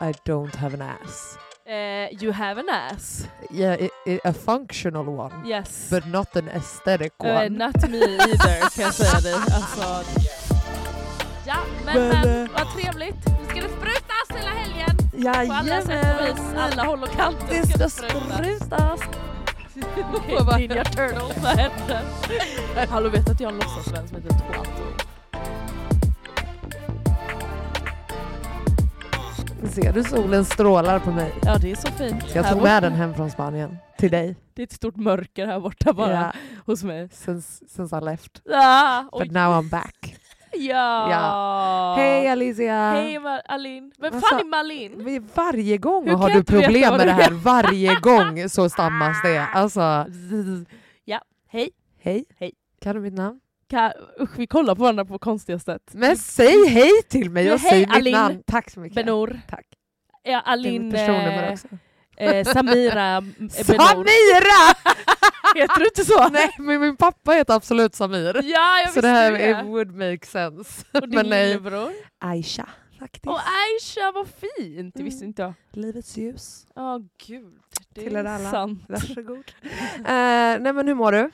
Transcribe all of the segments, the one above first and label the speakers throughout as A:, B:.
A: I don't have an ass.
B: Eh, you have an ass.
A: Yeah, i i- a functional one,
B: Yes.
A: but not an aesthetic
B: Eh,
A: one.
B: not me either kan jag säga dig. Alltså. Ja, men,
A: Men,
B: men
A: eh,
B: vad trevligt. Nu ska det sprutas hela helgen. På alla sätt och
A: Jajamän!
B: vis. Alla håll och kanter
A: Det ska
B: sprutas.
A: sprutas!
B: Ninja Turtles, vad händer? Hallå vet att jag har en låtsasvän som heter Toto?
A: Ser du solen strålar på mig?
B: Ja det är så fint.
A: Jag
B: Här
A: tog
B: borta-
A: med den hem från Spanien till dig.
B: Det är ett stort mörker här borta bara
A: Yeah,
B: hos mig.
A: since, since I left.
B: Ja!
A: But
B: Oj.
A: now I'm back.
B: Ja!
A: Hej Alicia!
B: Hej Ma- Alin! Vem
A: Vad
B: fan
A: sa-
B: är Malin?
A: Vi- Varje gång
B: Hur
A: har
B: kan
A: du
B: jag inte veta
A: problem
B: vad
A: med
B: du
A: det här. Varje gång så stammas det. Alltså,
B: Ja, hej.
A: hej.
B: Hej.
A: Kan du mitt namn?
B: Ka- Usch, vi kollar på varandra på konstiga sätt.
A: Men säg hej till mig
B: Men
A: och
B: hej,
A: säg mitt
B: Alin.
A: namn. Tack så mycket.
B: Benor.
A: Tack. Det
B: Ja,
A: är mitt
B: Alin...
A: personnummer
B: eh,
A: också.
B: eh, Samira m- Benor.
A: Samira!
B: Heter du inte så?
A: nej, men min pappa heter absolut Samir.
B: Ja,
A: Så
B: jag visste
A: det här
B: det.
A: är- would make sense.
B: Och
A: men
B: din
A: nej.
B: lillebror.
A: Aisha, faktiskt.
B: Och Aisha, vad fint! Det visste
A: Mm.
B: inte jag.
A: Livets ljus.
B: Ja, gud. Det
A: Till
B: är
A: er alla.
B: sant.
A: Varsågod. eh, nej men hur mår du?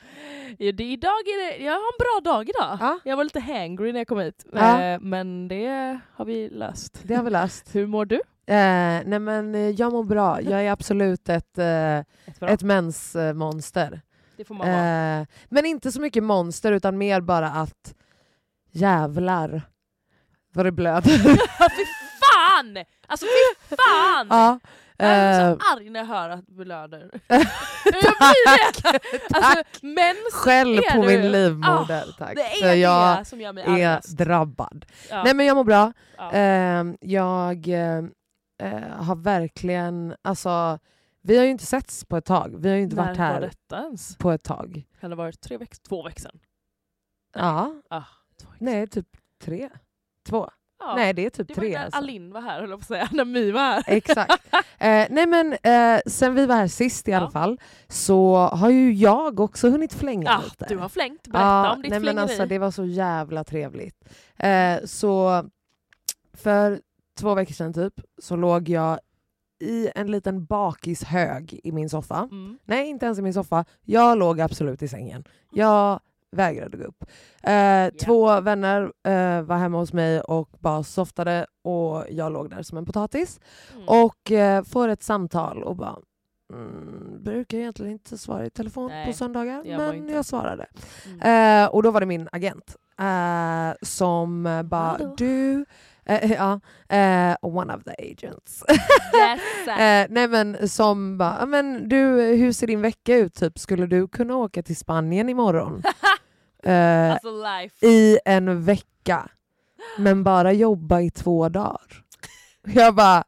B: Ja, det, idag är det, jag har en bra dag idag.
A: Ja.
B: Jag var lite hangry när jag kom hit,
A: Ja.
B: eh, men det har vi löst.
A: Det har vi löst.
B: Hur mår du?
A: Eh, nej men eh, jag mår bra. Jag är absolut ett, eh, ett mensmonster.
B: det får man vara.
A: Eh, men inte så mycket monster utan mer bara att jävlar vad det blöder.
B: fy fan! Alltså fy fan!
A: ja.
B: Jag är
A: eh,
B: så arg när jag hör att du blöder. jag blir Mm, det! Alltså, mens
A: Skäll
B: är
A: på
B: du? Ah,
A: min livmoder tack.
B: det
A: För
B: är
A: jag
B: det som gör mig
A: är
B: argast.
A: drabbad.
B: Ja,
A: Nej men jag mår bra.
B: ja.
A: Eh, jag eh, eh, har verkligen, alltså vi har ju inte setts på ett tag. Vi har ju inte
B: När
A: varit
B: var
A: här
B: detta ens?
A: på ett tag.
B: Kan det ha varit tre veckor? Två veckor sedan?
A: Ja,
B: Ah, två veckor sedan.
A: nej typ tre. Två.
B: Ja,
A: Nej det är typ
B: det var ju
A: tre.
B: när
A: Alltså.
B: Alin var här höll jag på att säga, när My var här.
A: Exakt. Eh, nej men eh, sen vi var här sist i alla
B: Ja.
A: fall så har ju jag också hunnit flänga
B: Ja,
A: lite.
B: Ah, du har flängt, berätta
A: Ja,
B: om ditt
A: nej,
B: flängeri.
A: men alltså, Det var så jävla trevligt. Eh, så för två veckor sedan typ så låg jag i en liten bakishög i min soffa.
B: Mm.
A: Nej inte ens i min soffa, jag låg absolut i sängen. Jag vägrade gå upp. Eh, Två vänner eh, var hemma hos mig och bara softade och jag låg där som en potatis.
B: Mm.
A: Och eh, får ett samtal och bara Mm, brukar jag egentligen inte svara i telefon på
B: Nej,
A: söndagar,
B: jag var
A: men
B: inte.
A: jag svarade.
B: Mm.
A: Eh, och då var det min agent eh, som eh, bara,
B: Hallå.
A: du... Eh, ja, eh, one of the agents.
B: Yes.
A: Eh, nej men som bara, "Ja, men du hur ser din vecka ut? Typ, skulle du kunna åka till Spanien imorgon? eh,
B: Alltså life.
A: I en vecka. Men bara jobba i två dagar. Jag bara,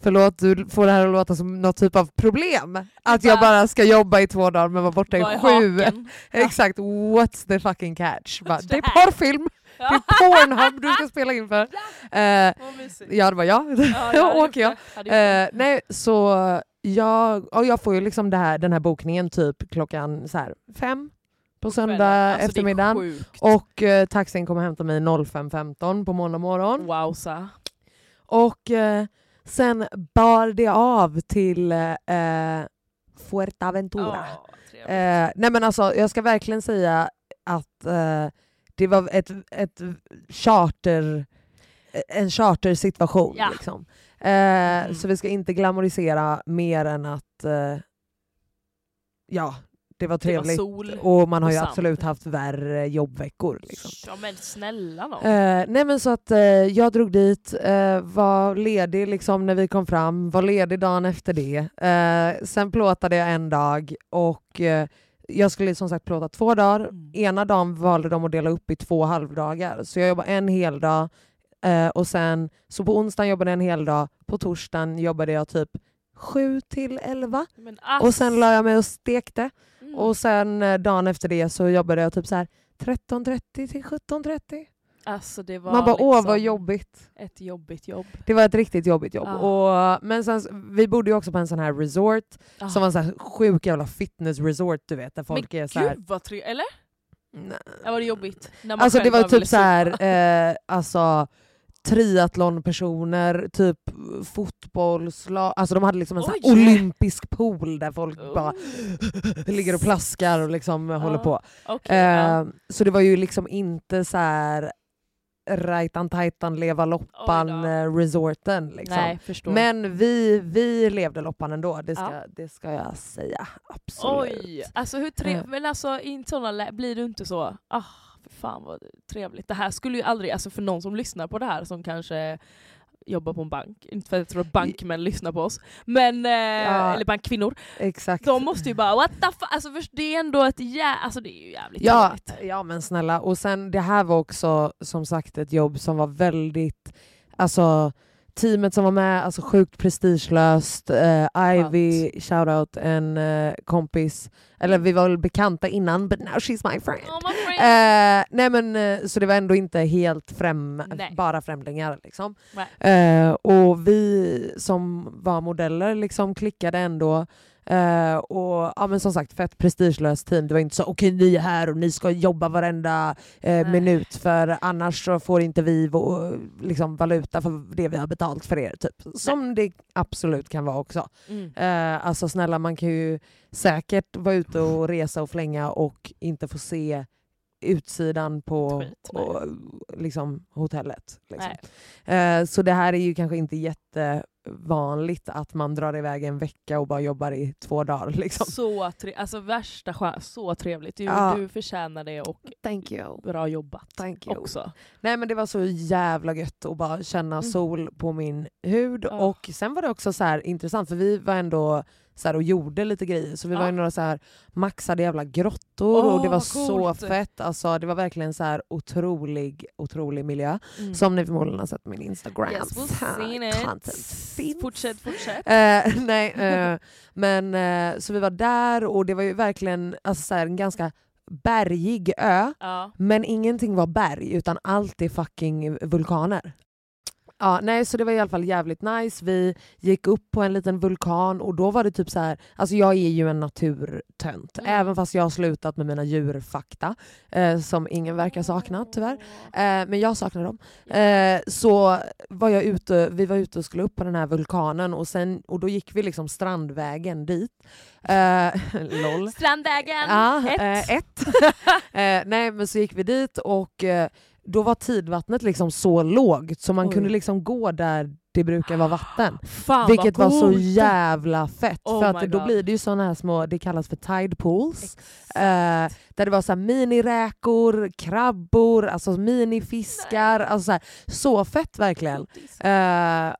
A: förlåt du får det här att låta som något typ av problem. Att jag
B: Bara-
A: bara ska jobba i två dagar men vara borta i
B: Vad är
A: sju.
B: haken?
A: Exakt, what's the fucking catch? Bara,
B: det
A: det är
B: här?"
A: porrfilm! Det är Pornhub du ska spela in för. Eh,
B: Vad mysigt.
A: ja, det var jag.
B: Ja,
A: Då
B: hade
A: åker jag.
B: gjort det. Hade gjort det.
A: Eh, nej, så jag, och jag får ju liksom det här, den här bokningen typ klockan så här, fem på söndag
B: Alltså, det är
A: eftermiddagen.
B: sjukt.
A: Och eh, taxin kommer hämta mig 05.15 på måndag morgon.
B: Mm. Wowza.
A: Och eh, sen bar det av till eh, Fuerteventura.
B: Ja, trevligt.
A: Eh, nej men alltså jag ska verkligen säga att eh, det var ett, ett charter, en chartersituation.
B: Ja.
A: Liksom. Eh,
B: Mm.
A: Så vi ska inte glamorisera mer än att eh, ja, det var
B: det var
A: trevligt.
B: sol.
A: och man har
B: och
A: ju
B: sand.
A: absolut haft värre jobbveckor. Liksom.
B: Ja men snälla nån.
A: Eh, nej men så att eh, jag drog dit, eh, var ledig liksom när vi kom fram, var ledig dagen efter det. Eh, sen plåtade jag en dag och eh, jag skulle som sagt plåta två dagar.
B: Mm.
A: Ena dagen valde de att dela upp i två halvdagar så jag jobbade en hel dag eh, och sen så på onsdagen jobbade jag en hel dag, på torsdagen jobbade jag typ 7 till 11
B: Men ass.
A: och sen la jag mig och stekte.
B: Mm.
A: Och sen eh, dagen efter det så jobbade jag typ så här 13.30 till 17.30.
B: Alltså det var
A: Man bara åh vad
B: liksom
A: jobbigt.
B: Ett jobbigt jobb.
A: Det var ett riktigt jobbigt jobb.
B: Ah.
A: Och, men sen, vi bodde ju också på en sån här resort,
B: Ah.
A: som var en sån här sjuk jävla fitness resort du vet, där folk är
B: men
A: så här,
B: gud vad trevligt. Eller?
A: Nej.
B: Eller var det jobbigt? När man
A: Alltså det
B: själv
A: var
B: bara ville
A: typ så
B: sopa.
A: här, eh, alltså triathlonpersoner, typ fotbollslag, alltså de hade liksom en sån här
B: Oj.
A: olympisk pool där folk
B: Oh.
A: bara ligger och plaskar och liksom håller
B: Ah.
A: på.
B: Okej, ja.
A: Eh, så det var ju liksom inte så här rajtan tajtan leva loppan
B: Oj då.
A: eh, resorten. Liksom.
B: Nej, förstår.
A: Men vi, vi levde loppan ändå, det ska,
B: Ja.
A: det ska jag säga. Absolut.
B: Oj! Alltså hur
A: Ja.
B: trevligt, men alltså i sådana lä- blir du inte så, ah för fan vad trevligt. Det här skulle ju aldrig, alltså för någon som lyssnar på det här som kanske jobbar på en bank, inte för att jag tror att bankmän lyssnar på oss, men, eh,
A: Ja.
B: eller bankkvinnor,
A: Exakt.
B: de måste ju bara what the fuck, alltså först, det är ändå ett jä... alltså det är ju jävligt
A: Ja,
B: trevligt.
A: ja men snälla, och sen det här var också som sagt ett jobb som var väldigt, alltså teamet som var med, alltså sjukt prestigelöst. Eh, Ivy, shoutout, en eh, kompis, eller vi var väl bekanta innan but now she's my friend.
B: Oh, my friend.
A: Eh, nej men eh, så det var ändå inte helt främ,
B: Nej.
A: bara främlingar liksom.
B: Nej.
A: Eh, och vi som var modeller liksom klickade ändå. Eh, och ja men som sagt fett prestigelöst team. Det var inte så okej ni är här och ni ska jobba varenda eh, minut för annars så får inte vi vår, liksom, valuta för det vi har betalt för er. Typ. Som det absolut kan vara också.
B: Mm.
A: Eh, alltså snälla, man kan ju säkert vara ute och resa och flänga och inte få se utsidan på
B: Skit, nej.
A: och, liksom, hotellet. Liksom.
B: Nej.
A: Eh, så det här är ju kanske inte jättevanligt att man drar iväg en vecka och bara jobbar i två dagar. Liksom.
B: Så trevligt, alltså värsta skön, så trevligt. Du,
A: Ja.
B: du förtjänar det och
A: Thank you.
B: bra jobbat
A: Thank
B: också.
A: Nej men det var så jävla gött att bara känna
B: Mm.
A: sol på min hud.
B: Ja.
A: Och sen var det också så här intressant för vi var ändå så här och gjorde lite grejer. Så vi var
B: Ja.
A: i några så här maxade jävla grottor och det
B: Åh,
A: var
B: vad
A: så
B: coolt.
A: fett. Alltså det var verkligen så här otrolig, otrolig miljö.
B: Mm.
A: Som ni förmodligen har sett på min Instagram.
B: Yes, we've seen it.
A: finns.
B: Fortsätt, fortsätt.
A: Eh, nej, eh, men eh, så vi var där och det var ju verkligen alltså, så här, en ganska bergig ö.
B: Ja.
A: Men ingenting var berg utan allt är fucking vulkaner. Ja, nej, så det var i alla fall jävligt nice. Vi gick upp på en liten vulkan och då var det typ så här. Alltså jag är ju en naturtönt.
B: Mm.
A: Även fast jag har slutat med mina djurfakta. Eh, som ingen verkar sakna tyvärr. Eh, men jag saknar dem. Eh, så var jag ute, vi var ute och skulle upp på den här vulkanen och, sen, och då gick vi liksom strandvägen dit. Eh, lol.
B: Strandvägen!
A: Ja,
B: ett.
A: eh, ett. eh, nej men så gick vi dit och eh, då var tidvattnet liksom så lågt så man
B: Oj.
A: kunde liksom gå där det brukar vara vatten.
B: Fan vad
A: Vilket var så
B: coolt.
A: jävla fett.
B: Oh
A: för
B: my
A: att då
B: God.
A: blir det ju såna här små, det kallas för tide pools.
B: Exakt.
A: Eh, där det var så här miniräkor, krabbor, alltså minifiskar. Alltså så, här, så fett verkligen. Eh,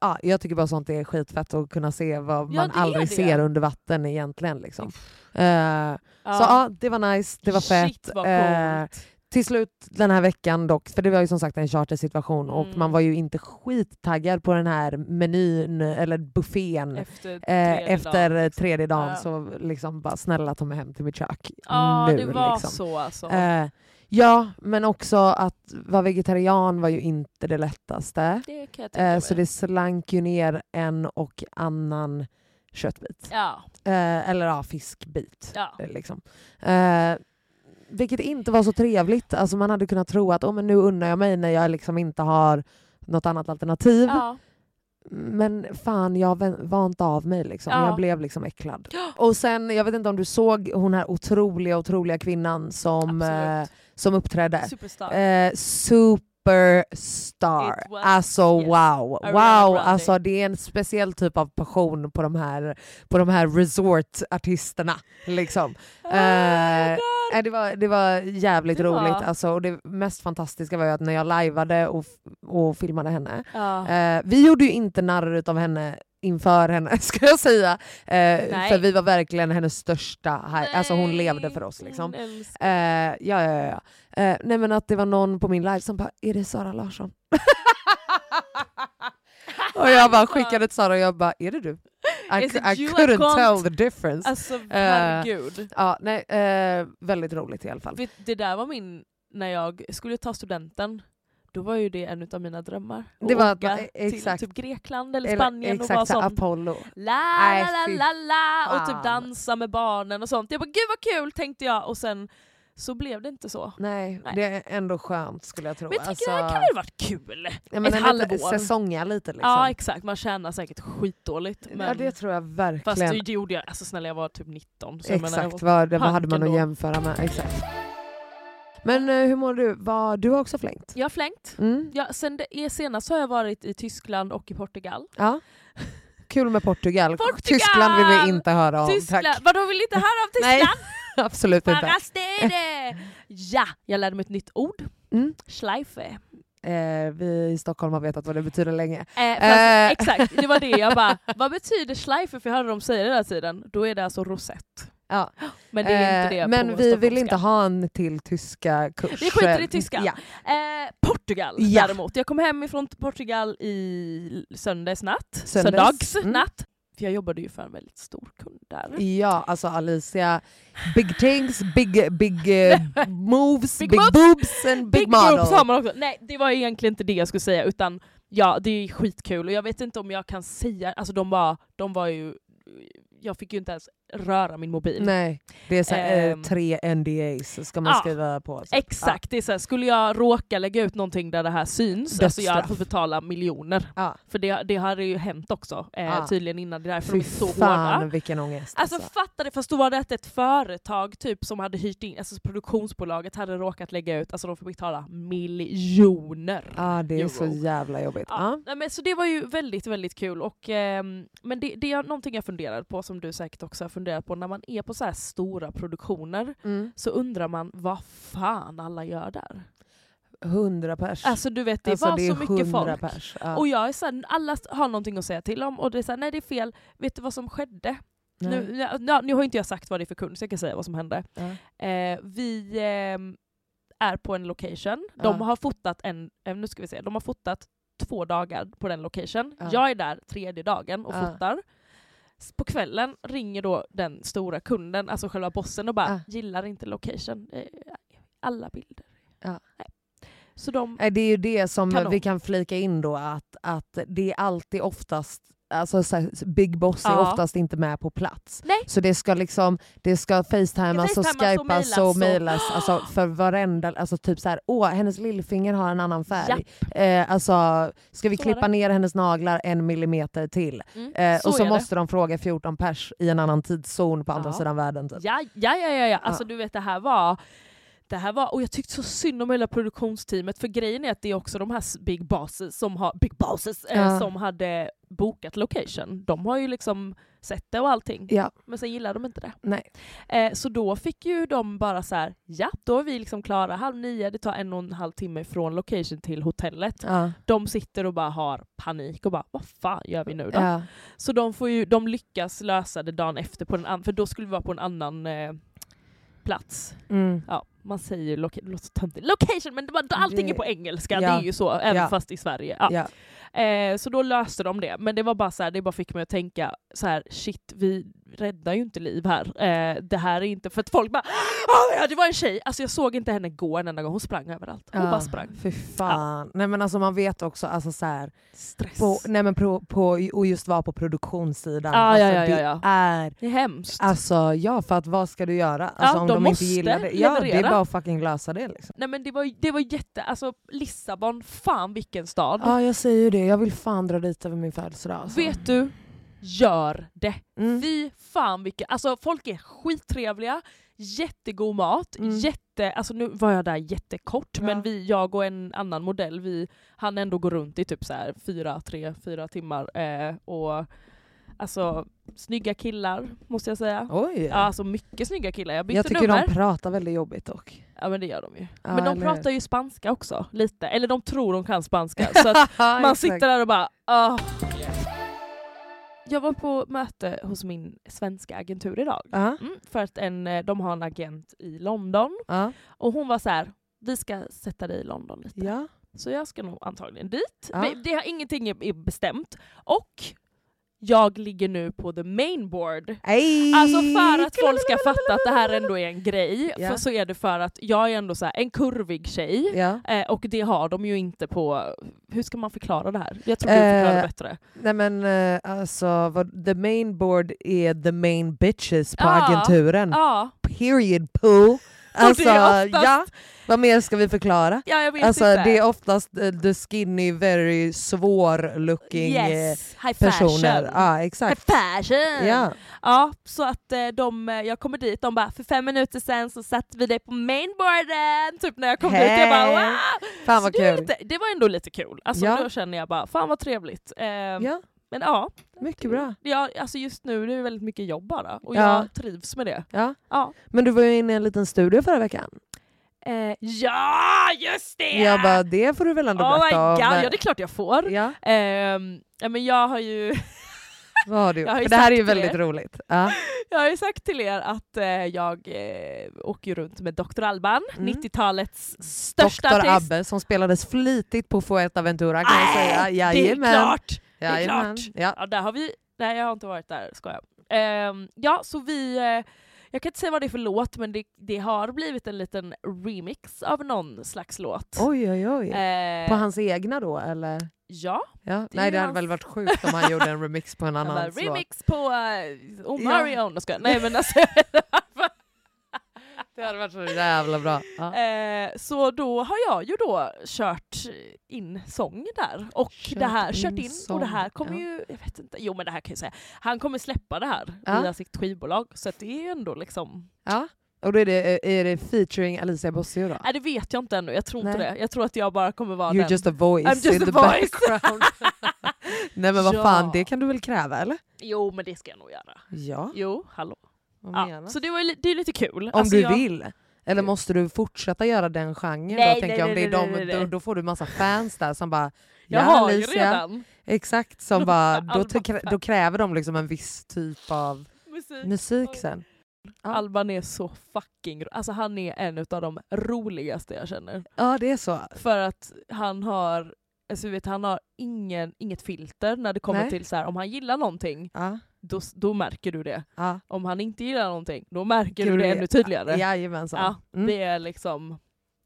A: ja, jag tycker bara sånt är skitfett att kunna se vad
B: Ja,
A: man
B: det är
A: aldrig
B: det.
A: ser under vatten egentligen. Liksom. Eh, så ja, det var nice, det var fett.
B: Shit vad
A: Eh,
B: coolt.
A: till slut den här veckan dock, för det var ju som sagt en chartersituation och
B: Mm.
A: man var ju inte skittaggad på den här menyn eller buffén.
B: efter tredje
A: Eh, efter
B: dagen.
A: tredje dagen liksom
B: Ja.
A: så liksom bara snälla ta mig hem till mitt kök
B: Ja,
A: nu.
B: det var
A: liksom.
B: så alltså.
A: Eh, Ja, men också att vara vegetarian var ju inte det lättaste.
B: Det kan jag tänka
A: Eh,
B: mig.
A: så det slank ju ner en och annan köttbit.
B: Ja,
A: Eh, eller ja, fiskbit.
B: ja.
A: eh, Liksom. Eh, vilket inte var så trevligt. Alltså man hade kunnat tro att oh, men nu unnar jag mig när jag liksom inte har något annat alternativ.
B: ja.
A: Men fan, jag vä- vant av mig. Liksom.
B: Ja.
A: Jag blev liksom äcklad. Och sen, jag vet inte om du såg hon här otroliga, otroliga kvinnan som, eh,
B: Absolut.
A: som uppträdde.
B: Superstar.
A: Eh, superstar.
B: It was-
A: Alltså
B: yes.
A: wow. wow.
B: Ariana Grande.
A: Alltså, det är en speciell typ av passion på de här, på de här resortartisterna. Liksom.
B: Oh
A: eh,
B: my God.
A: Nej, det, var, det var jävligt
B: Det var-
A: roligt. Alltså, och det mest fantastiska var ju att när jag lajvade och, f- och filmade henne
B: Ja.
A: Eh, vi gjorde ju inte narr av henne inför henne ska jag säga. Eh,
B: Nej.
A: för vi var verkligen hennes största, haj- alltså hon levde för oss
B: Nej, Mm.
A: liksom.
B: hon älskar-
A: Eh, ja, ja, ja. ja. Eh, nej men att det var någon på min live som bara, är det Sara Larsson? och jag bara skickade till Sara och jag bara, är det du? I,
B: Alltså. Is it
A: I
B: you? I
A: couldn't
B: can't-
A: tell the difference.
B: Alltså herregud.
A: ja, nej, eh, väldigt roligt i alla fall.
B: Vet, det där var min, när jag skulle ta studenten, då var ju det en av mina drömmar. Att
A: Det var att
B: åka
A: man- e- exakt.
B: till typ Grekland eller
A: Eller
B: Spanien och vara
A: Exakt, så
B: sån
A: här Apollo.
B: la
A: Nej,
B: la
A: fy
B: la la la
A: fan.
B: och typ dansa med barnen och sånt. Jag bara gud vad kul tänkte jag och sen så blev det inte så.
A: Nej,
B: Nej.
A: det är ändå skönt skulle jag tro.
B: Men jag tänker det här
A: Alltså-
B: kan väl varit kul?
A: Ja,
B: Ett
A: men en lite
B: halvår.
A: säsonga lite liksom.
B: Ja exakt, man tjänar säkert skitdåligt. Men,
A: ja det tror jag
B: fast
A: verkligen.
B: det, det gjorde jag, alltså snälla jag var typ 19. Så jag menar, jag
A: Exakt,
B: var,
A: vad, det, vad hade man
B: panken
A: att
B: då.
A: jämföra med. Exakt. Men eh, hur mår du? Vad, du har också flängt?
B: jag har flängt.
A: Mm.
B: Ja, sen det, senast har jag varit i Tyskland och i Portugal.
A: Ja. Kul med Portugal.
B: Portugal!
A: Tyskland vill vi inte höra om.
B: Tyskland!
A: Tack.
B: Vadå vill inte höra om
A: Nej,
B: Tyskland?
A: absolut inte.
B: Parastede! Ja, jag lärde mig ett nytt ord.
A: Mm.
B: Schleife.
A: Eh, vi i Stockholm har vetat vad det betyder länge.
B: Eh, fast,
A: Eh.
B: Exakt, det var det jag bara, vad betyder schleife? För jag hörde dem säga det hela tiden. Då är det alltså rosett.
A: Ja.
B: Men det är inte det
A: Eh,
B: på
A: men vi vill
B: stockholmska.
A: inte ha en till tyska kurs.
B: Vi skiter i tyska.
A: Ja.
B: Eh, Portugal
A: Ja.
B: däremot. Jag kom hem ifrån Portugal i söndags natt.
A: Söndags.
B: Söndags
A: Mm.
B: natt. För jag jobbade ju för en väldigt stor kund där.
A: Ja, alltså Alicia, big things, big, big eh, moves, big,
B: Big moves.
A: boobs and big,
B: Big
A: model.
B: boobs har man också. Nej, det var egentligen inte det jag skulle säga utan ja, det är skitkul och jag vet inte om jag kan säga, alltså de var, de var ju, jag fick ju inte ens röra min mobil.
A: Nej, det är så här, eh,
B: Ehm.
A: tre NDAs ska man
B: Ja,
A: skriva på. Så.
B: Exakt, det är så här, skulle jag råka lägga ut någonting där det här syns, alltså jag hade
A: Dödsstraff.
B: fått betala miljoner.
A: Ja.
B: För det, det hade ju hänt också, eh,
A: Ja.
B: tydligen innan, det är
A: Ja. Ah.
B: därför
A: Fy
B: de är så
A: fan
B: hårda.
A: vilken ångest.
B: Alltså fatta det, fast då var det att ett företag typ som hade hyrt in, alltså produktionsbolaget hade råkat lägga ut, alltså de fick betala miljoner.
A: Ja, det är så
B: Euro.
A: jävla jobbigt.
B: Ja.
A: Ja.
B: nej, Men, så det var ju väldigt, väldigt kul. Och, ehm, men det, det är någonting jag funderar på, som du säkert också har funderat på, när man är på så här stora produktioner
A: Mm.
B: så undrar man vad fan alla gör där.
A: Hundra pers.
B: Alltså du vet, det
A: Alltså,
B: var
A: det är
B: så mycket
A: 100
B: folk.
A: Pers. Ja.
B: Och jag är såhär, alla har någonting att säga till om och det är såhär, nej det är fel, vet du vad som skedde?
A: Nej.
B: Nu, ja, ja, nu har inte jag sagt vad det är för kund så jag kan säga vad som hände.
A: Ja.
B: Eh, vi ehm, är på en location, de
A: Ja.
B: har fotat en, eh, nu ska vi se, de har fotat två dagar på den location.
A: Ja.
B: Jag är där tredje dagen och
A: Ja.
B: fotar. S- På kvällen ringer då den stora kunden, alltså själva bossen och bara
A: Ja.
B: “gillar inte location, eh, alla bilder”.
A: Ja. Eh,
B: Nej. Så de,
A: Nej, Det är ju det som
B: Kanon.
A: vi kan flika in då, att, att det är alltid oftast Alltså så här, Big Boss är
B: Ja.
A: oftast inte med på plats.
B: Nej.
A: Så det ska liksom, det ska facetimas och
B: Facetamas och
A: skypas
B: mailas
A: och
B: och-
A: mailas alltså för varenda, alltså typ så här, åh hennes lillfinger har en annan färg. Eh, alltså, ska vi
B: Så var
A: klippa
B: det.
A: ner hennes naglar en millimeter till?
B: mm,
A: Eh, och så
B: är det.
A: måste de fråga 14 pers i en annan tidszon på andra
B: Ja.
A: sidan världen. Typ.
B: Ja, ja, ja, ja, ja. Alltså
A: Ja.
B: du vet det här var... Det här var, och jag tyckte så synd om hela produktionsteamet, för grejen är att det är också de här s- big bosses som, har, big bosses,
A: Ja.
B: eh, som hade bokat location. De har ju liksom sett det och allting,
A: Ja,
B: men sen gillar de inte det.
A: nej.
B: Eh, så då fick ju de bara så här, ja, då är vi liksom klara halv nio, det tar en och en halv timme från location till hotellet.
A: Ja,
B: De sitter och bara har panik och bara, vad fan gör vi nu då?
A: ja.
B: Så de, får ju, de lyckas lösa det dagen efter, på den an- för då skulle vi vara på en annan eh, plats.
A: Mm.
B: Ja, man säger ju loca- det låter så töntigt. location, men det, var- allting
A: Det-
B: är på engelska,
A: ja.
B: det är ju så, även
A: Ja.
B: fast i Sverige. Ja.
A: Ja.
B: Eh, så då löste de det, men det var bara så här, det bara fick mig att tänka så här, shit, vi, räddar ju inte liv här. Eh, det här är inte för att folk bara Åh, ja, det var en tjej! Alltså jag såg inte henne gå en enda gång, hon sprang överallt. Hon bara sprang.
A: Fy fan. Nej men alltså man vet också, alltså så här,
B: Stress.
A: på, nej, men på, på, och just vara på produktionssidan.
B: Ah, Ja,
A: alltså,
B: ja, ja, ja,
A: Det
B: ja.
A: är
B: Det är hemskt.
A: Alltså ja, för att vad ska du göra? Alltså, om
B: de
A: de,
B: måste
A: inte gillar det. Ja, det är
B: leverera.
A: bara att fucking lösa det. Liksom.
B: Nej men det var, det var jätte, alltså Lissabon, fan vilken stad.
A: Ja, jag säger ju det. Jag vill fan dra dit över min födelsedag. Alltså.
B: Vet du? Gör det!
A: Mm.
B: Fy fan vilka, alltså folk är skittrevliga, jättegod mat,
A: Mm.
B: jätte, alltså nu var jag där jättekort
A: Ja.
B: men vi, jag och en annan modell, vi han ändå gå runt i typ så här fyra, tre, fyra timmar eh, och alltså snygga killar måste jag säga.
A: Oj.
B: Ja, alltså mycket snygga killar, jag bytte
A: jag tycker
B: nummer.
A: de pratar väldigt jobbigt dock.
B: Ja men det gör de ju.
A: Ja,
B: men de
A: eller hur?
B: pratar ju spanska också, lite. Eller de tror de kan spanska. så att man sitter där och bara ah. Jag var på möte hos min svenska agentur idag.
A: Ja,
B: Mm, för att en, eh, de har en agent i London.
A: ja,
B: Och hon var så här, vi ska sätta dig i London lite.
A: ja.
B: Så jag ska nog antagligen dit.
A: Ja.
B: Men det har ingenting är är bestämt. Och jag ligger nu på the main board.
A: Ej.
B: Alltså för att folk ska fatta att det här ändå är en grej,
A: Ja.
B: för så är det för att jag är ändå så här, en kurvig tjej,
A: Ja.
B: eh, och det har de ju inte på... Hur ska man förklara det här? Jag tror du förklarar det
A: Eh,
B: bättre.
A: Nej men eh, alltså, vad, the main board är the main bitches på
B: Ja.
A: agenturen.
B: Ja,
A: Period poo. Alltså,
B: oftast-
A: ja. Vad mer ska vi förklara?
B: ja, jag vet
A: Alltså
B: inte.
A: det är oftast eh, the skinny, very svår looking eh,
B: yes, high
A: personer.
B: fashion.
A: Ja,
B: High
A: exakt.
B: fashion!
A: Ja.
B: Ja, så att eh, de, eh, jag kommer dit, de bara för fem minuter sen så satte vi dig på mainboarden, typ när jag kom dit. Jag bara
A: Hey.
B: wow!
A: Fan
B: Så
A: vad
B: det, är
A: kul.
B: lite, det var ändå lite kul. Alltså
A: Ja.
B: då känner jag bara, fan vad trevligt. Eh,
A: Ja,
B: Men ja,
A: mycket bra.
B: Ja, alltså just nu det är det väldigt mycket jobb bara och
A: Ja.
B: jag trivs med det.
A: Ja.
B: Ja,
A: Men du var ju inne i en liten studio förra veckan.
B: eh, ja just det!
A: Jag bara, det får du väl ändå
B: oh my
A: berätta
B: god,
A: om.
B: ja det är klart jag får.
A: Ja,
B: Ehm, ja, men jag har ju
A: vad har du
B: Jag har
A: gjort?
B: ju
A: För det här är ju
B: sagt det.
A: väldigt roligt. Ja.
B: Jag har ju sagt till er att eh, jag eh, åker ju runt med Dr. Alban,
A: Mm.
B: 90-talets största
A: Doktor
B: artist.
A: Abbe som spelades flitigt på Fuerteventura kan jag säga.
B: det är
A: Jajamän.
B: klart! är
A: Jajamän.
B: klart.
A: Ja.
B: Ja, där har vi... Nej, jag har inte varit där, skojar. Ehm, ja, så vi... Eh, jag kan inte säga vad det är för låt, men det, det har blivit en liten remix av någon slags låt.
A: Oj oj oj.
B: Ehm,
A: På hans egna då eller?
B: Ja,
A: Ja.
B: Det är
A: Nej det hade
B: hans-
A: väl varit sjukt om han gjorde en remix på en
B: han bara,
A: annan låt.
B: remix på eh, Omarion. Ja. Nej men alltså...
A: Det hade varit så jävla bra. Ja.
B: Eh, så då har jag ju då kört in sång där. Och
A: Kört
B: det här,
A: in
B: kört in, och
A: sång,
B: det här kommer
A: ja.
B: ju, jag vet inte, jo men det här kan jag säga, han kommer släppa det här
A: Ja.
B: via sitt skivbolag. Så att det är ju ändå liksom,
A: Ja. Och då är det, eh, är det featuring Alicia Bossio då?
B: nej det vet jag inte ännu, jag tror inte
A: Nej.
B: det. Jag tror att jag bara kommer vara
A: You're
B: den.
A: just a voice
B: I'm just
A: in
B: a
A: the
B: voice.
A: background. Nej men vad
B: Ja.
A: fan, det kan du väl kräva eller?
B: Jo men det ska jag nog göra.
A: Ja,
B: Jo, hallå.
A: vad
B: Ja.
A: menas?
B: Så det, var ju, li- det är lite kul.
A: Om
B: Alltså,
A: du
B: jag-
A: vill? Eller måste du fortsätta göra den genren
B: Nej,
A: då? Tänker
B: nej,
A: jag, om det är
B: nej, nej, nej,
A: de,
B: nej.
A: då, då får du massa fans där som bara
B: Jag
A: "Ja,
B: har ju
A: Alicia."
B: redan
A: Exakt, som bara, då,
B: Alba
A: ty- då kräver de liksom en viss typ av
B: musik.
A: musik
B: Oj.
A: sen. Ja.
B: Alban är så fucking ro- Alltså han är en av de roligaste jag känner.
A: Ja det är så.
B: För att han har, alltså du vet, han har ingen, inget filter när det kommer
A: Nej.
B: till så här, om han gillar någonting,
A: Ja,
B: då, då märker du det.
A: ja.
B: Om han inte gillar någonting, då märker du
A: Gud,
B: det ännu tydligare.
A: Jajamensan.
B: Ja,
A: Mm.
B: Det är liksom,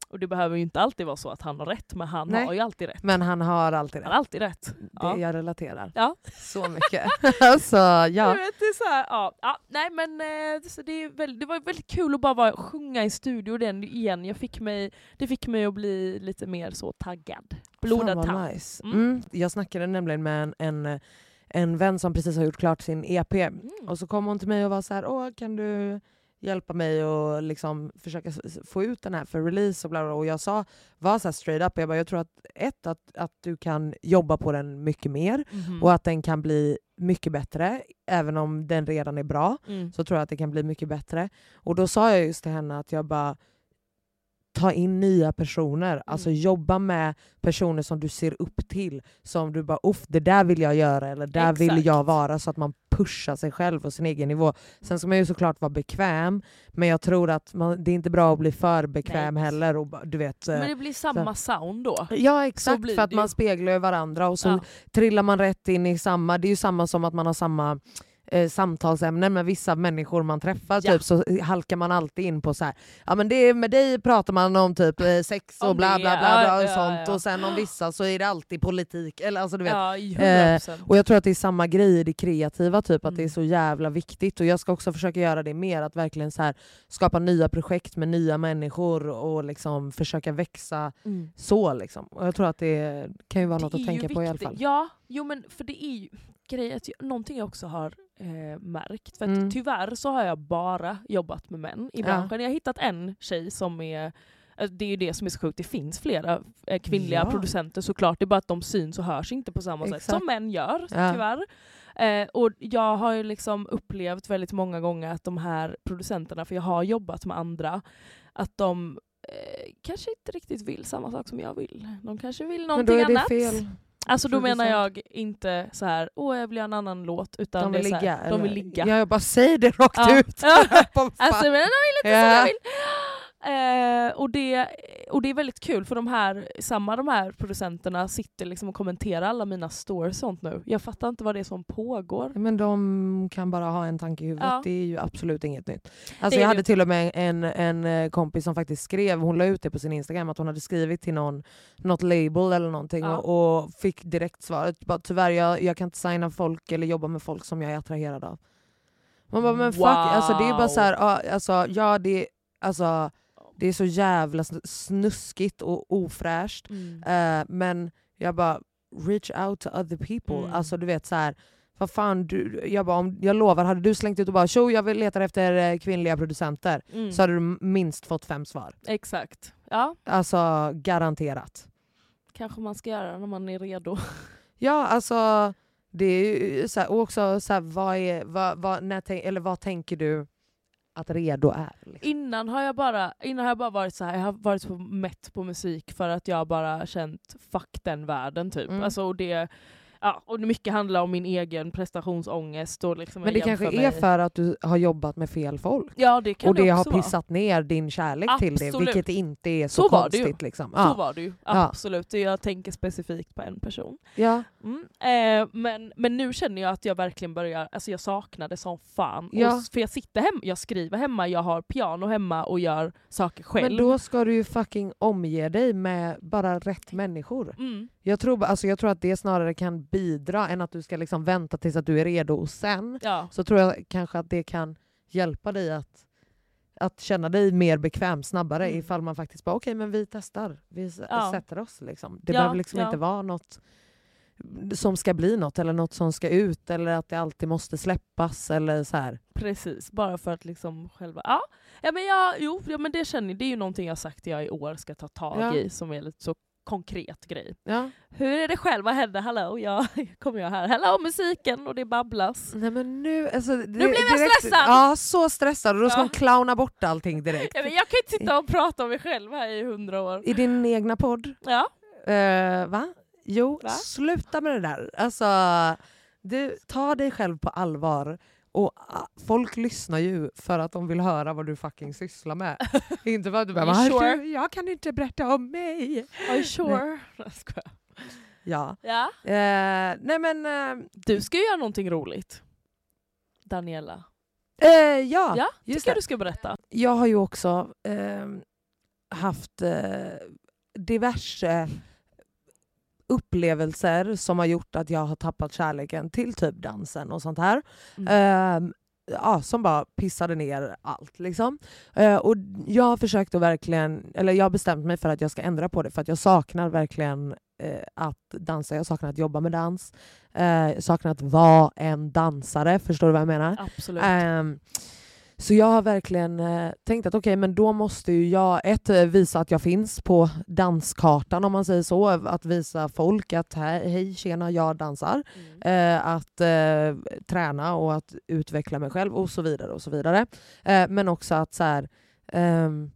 B: och det behöver ju inte alltid vara så att han har rätt, men han
A: Nej.
B: har ju alltid rätt.
A: Men han har alltid
B: Han
A: det.
B: har alltid rätt. Ja.
A: det jag relaterar
B: Ja.
A: så mycket. alltså,
B: Jag
A: ja.
B: vet, det, är så här, ja. Ja, nej, men, eh, så det, är väl, det var väldigt kul att bara vara, sjunga i studio den igen. Jag fick mig, det fick mig att bli lite mer så taggad.
A: Fan
B: Blodad
A: vad
B: tand.
A: nice.
B: Mm.
A: Mm. Jag snackade nämligen med en, en, en vän som precis har gjort klart sin E EP.
B: Mm.
A: Och så kom hon till mig och var så här, Åh, kan du hjälpa mig och liksom försöka s- s- få ut den här för release och bla bla. bla. Och jag sa, var så här straight up, jag, bara, jag tror att ett, att, att du kan jobba på den mycket mer
B: Mhm.
A: och att den kan bli mycket bättre, även om den redan är bra
B: Mm.
A: så tror jag att det kan bli mycket bättre. Och då sa jag just till henne att jag bara ta in nya personer, alltså
B: Mm.
A: jobba med personer som du ser upp till. Som du bara uff, det där vill jag göra eller där vill jag
B: Exakt.
A: vara så att man pushar sig själv och sin egen nivå. Sen ska man ju såklart vara bekväm men jag tror att man, det är inte bra att bli för bekväm
B: Nej.
A: heller. Och, bara- du vet, eh,
B: Men det blir samma sound då.
A: Ja exakt,
B: blir
A: för att
B: det ju.
A: man speglar ju varandra och så
B: Ja.
A: trillar man rätt in i samma, det är ju samma som att man har samma eh, samtalsämnen med vissa människor man träffar
B: Ja.
A: typ, så halkar man alltid in på så här, ja men det är med dig pratar man om typ eh, sex och
B: Om
A: bla
B: det,
A: bla bla,
B: ja,
A: bla och
B: ja,
A: sånt
B: ja.
A: och sen om vissa så är det alltid politik. Eller, alltså, du vet.
B: Ja, i 100%.
A: Och jag tror att det är samma grej i det kreativa, typ att det är
B: Mm.
A: så jävla viktigt. Och jag ska också försöka göra det mer, att verkligen så här, skapa nya projekt med nya människor och liksom försöka växa
B: Mm.
A: så. Liksom. Och jag tror att det kan ju vara något
B: Det
A: att
B: är ju
A: tänka på i alla
B: viktigt.
A: fall.
B: Ja, jo men för det är ju grejen, att jag- någonting jag också har eh, märkt. För att
A: Mm.
B: tyvärr så har jag bara jobbat med män i
A: Ja.
B: branschen. Jag har hittat en tjej som är eh, det är ju det som är så sjukt, det finns flera eh, kvinnliga
A: Ja.
B: producenter såklart, det är bara att de syns och hörs inte på samma sätt
A: Exakt.
B: som män gör
A: Ja.
B: tyvärr. Eh, och jag har ju liksom upplevt väldigt många gånger att de här producenterna, för jag har jobbat med andra, att de eh, kanske inte riktigt vill samma sak som jag vill. De kanske vill
A: Men
B: någonting
A: då är det
B: annat.
A: fel.
B: Alltså då
A: Producent.
B: menar jag inte så här, åh jag vill göra en annan låt, utan
A: De vill
B: det är så
A: ligga.
B: här, de vill
A: eller?
B: ligga.
A: Ja, jag bara säger det rakt
B: Ja.
A: ut.
B: Ja.
A: Vad fan.
B: Alltså men de vill inte som
A: Ja.
B: jag vill. Eh, och, det, och det är väldigt kul för de här, samma de här producenterna sitter liksom och kommenterar alla mina stories och sånt nu. Jag fattar inte vad det är som pågår.
A: Men de kan bara ha en tanke i huvudet,
B: Ja.
A: det är ju absolut inget nytt.
B: Det
A: Alltså
B: är
A: jag
B: det
A: hade
B: inte.
A: till och med en, en eh, kompis som faktiskt skrev, hon la ut det på sin instagram, att hon hade skrivit till någon, något label eller någonting
B: Ja.
A: och, och fick direkt svaret bara, tyvärr jag, jag kan inte signa folk eller jobba med folk som jag är attraherad av. Man bara men fuck, alltså det är bara så här, ja, alltså, ja det, alltså, det är så jävla sn- snuskigt och ofräscht. Eh, men jag bara, reach out to other people.
B: Mm.
A: Alltså du vet så här, vad fan du, jag, bara, om, jag lovar, hade du slängt ut och bara tjo jag vill leta efter eh, kvinnliga producenter
B: Mm.
A: så hade du m- minst fått fem svar.
B: Exakt. Ja,
A: Alltså garanterat.
B: kanske man ska göra när man är redo.
A: Ja alltså, det är ju eh, så här, och också så här, vad, är, vad, vad, när, tän- eller vad tänker du att redo är? Liksom?
B: Innan har jag bara, innan har jag bara varit så här, jag har varit så mätt på musik för att jag bara känt fuck den världen typ.
A: Mm.
B: Alltså, och det, ja, och mycket handlar om min egen prestationsångest. Och liksom
A: Men det
B: jag
A: kanske
B: jämför
A: är
B: mig-
A: för att du har jobbat med fel folk.
B: Ja det kan
A: och det har
B: också vara.
A: pissat ner din kärlek till det,
B: Absolut.
A: vilket inte är så,
B: Så var det ju.
A: konstigt. Liksom.
B: Så
A: Ja.
B: var det ju,
A: Ja.
B: absolut. Det- Jag tänker specifikt på en person.
A: Ja.
B: Mm. Eh, men, men nu känner jag att jag verkligen börjar, alltså jag saknar det som fan.
A: Ja.
B: Och, s- för jag sitter hemma, jag skriver hemma, jag har piano hemma och gör saker själv.
A: Men då ska du ju fucking omge dig med bara rätt människor.
B: mm.
A: Jag tror, ba- alltså jag tror att det snarare kan bidra än att du ska liksom vänta tills att du är redo och sen.
B: ja.
A: Så tror jag kanske att det kan hjälpa dig att, att känna dig mer bekväm snabbare
B: Mm.
A: ifall man faktiskt bara okej men vi testar, vi s-
B: Ja.
A: sätter oss. Liksom. Det
B: Ja,
A: behöver liksom
B: ja.
A: inte vara något som ska bli något eller något som ska ut eller att det alltid måste släppas eller så här.
B: Precis, bara för att liksom själva... Ja, ja men, jag, jo, ja, men det känner det är ju någonting jag sagt jag i år ska ta tag
A: Ja.
B: i som är lite så konkret grej.
A: Ja.
B: Hur är det själv? Vad händer? Hallå, jag kommer jag här. Hallå musiken och det babblas.
A: Nej men nu, alltså, det, nu
B: blev jag stressad!
A: Ja, så stressad. Och då ska
B: Ja.
A: hon clowna bort allting direkt.
B: Ja, men jag kan ju inte sitta och prata om mig själv här i hundra år.
A: I din egna podd,
B: Ja,
A: eh, va? Jo,
B: Va?
A: sluta med det där. Alltså, du, ta dig själv på allvar. Och ah, folk lyssnar ju för att de vill höra vad du fucking sysslar med. inte för att du bara
B: You
A: "Ah,
B: sure?"
A: du, jag kan inte berätta om mig.
B: are you sure? Jag skojar.
A: Ja.
B: Ja.
A: Eh, nej men, eh,
B: Du ska ju göra någonting roligt. Daniela.
A: eh, ja.
B: Ja,
A: just
B: tycker
A: det.
B: jag du ska berätta.
A: jag har ju också ehm, haft eh, diverse upplevelser som har gjort att jag har tappat kärleken till typ dansen och sånt här.
B: Mm.
A: Ehm, ja, som bara pissade ner allt. Liksom. Eh, och jag har försökt att verkligen, eller jag har bestämt mig för att jag ska ändra på det för att jag saknar verkligen eh, att dansa, jag saknar att jobba med dans. Eh, jag saknar att vara en dansare, förstår du vad jag menar?
B: Absolut.
A: Ehm, så jag har verkligen eh, tänkt att okej, men då måste ju jag ett eh, visa att jag finns på danskartan om man säger så. Att visa folk att här, hej tjena, jag dansar.
B: Mm.
A: Eh, att eh, träna och att utveckla mig själv och så vidare. och så vidare. Eh, men också att så här, ehm,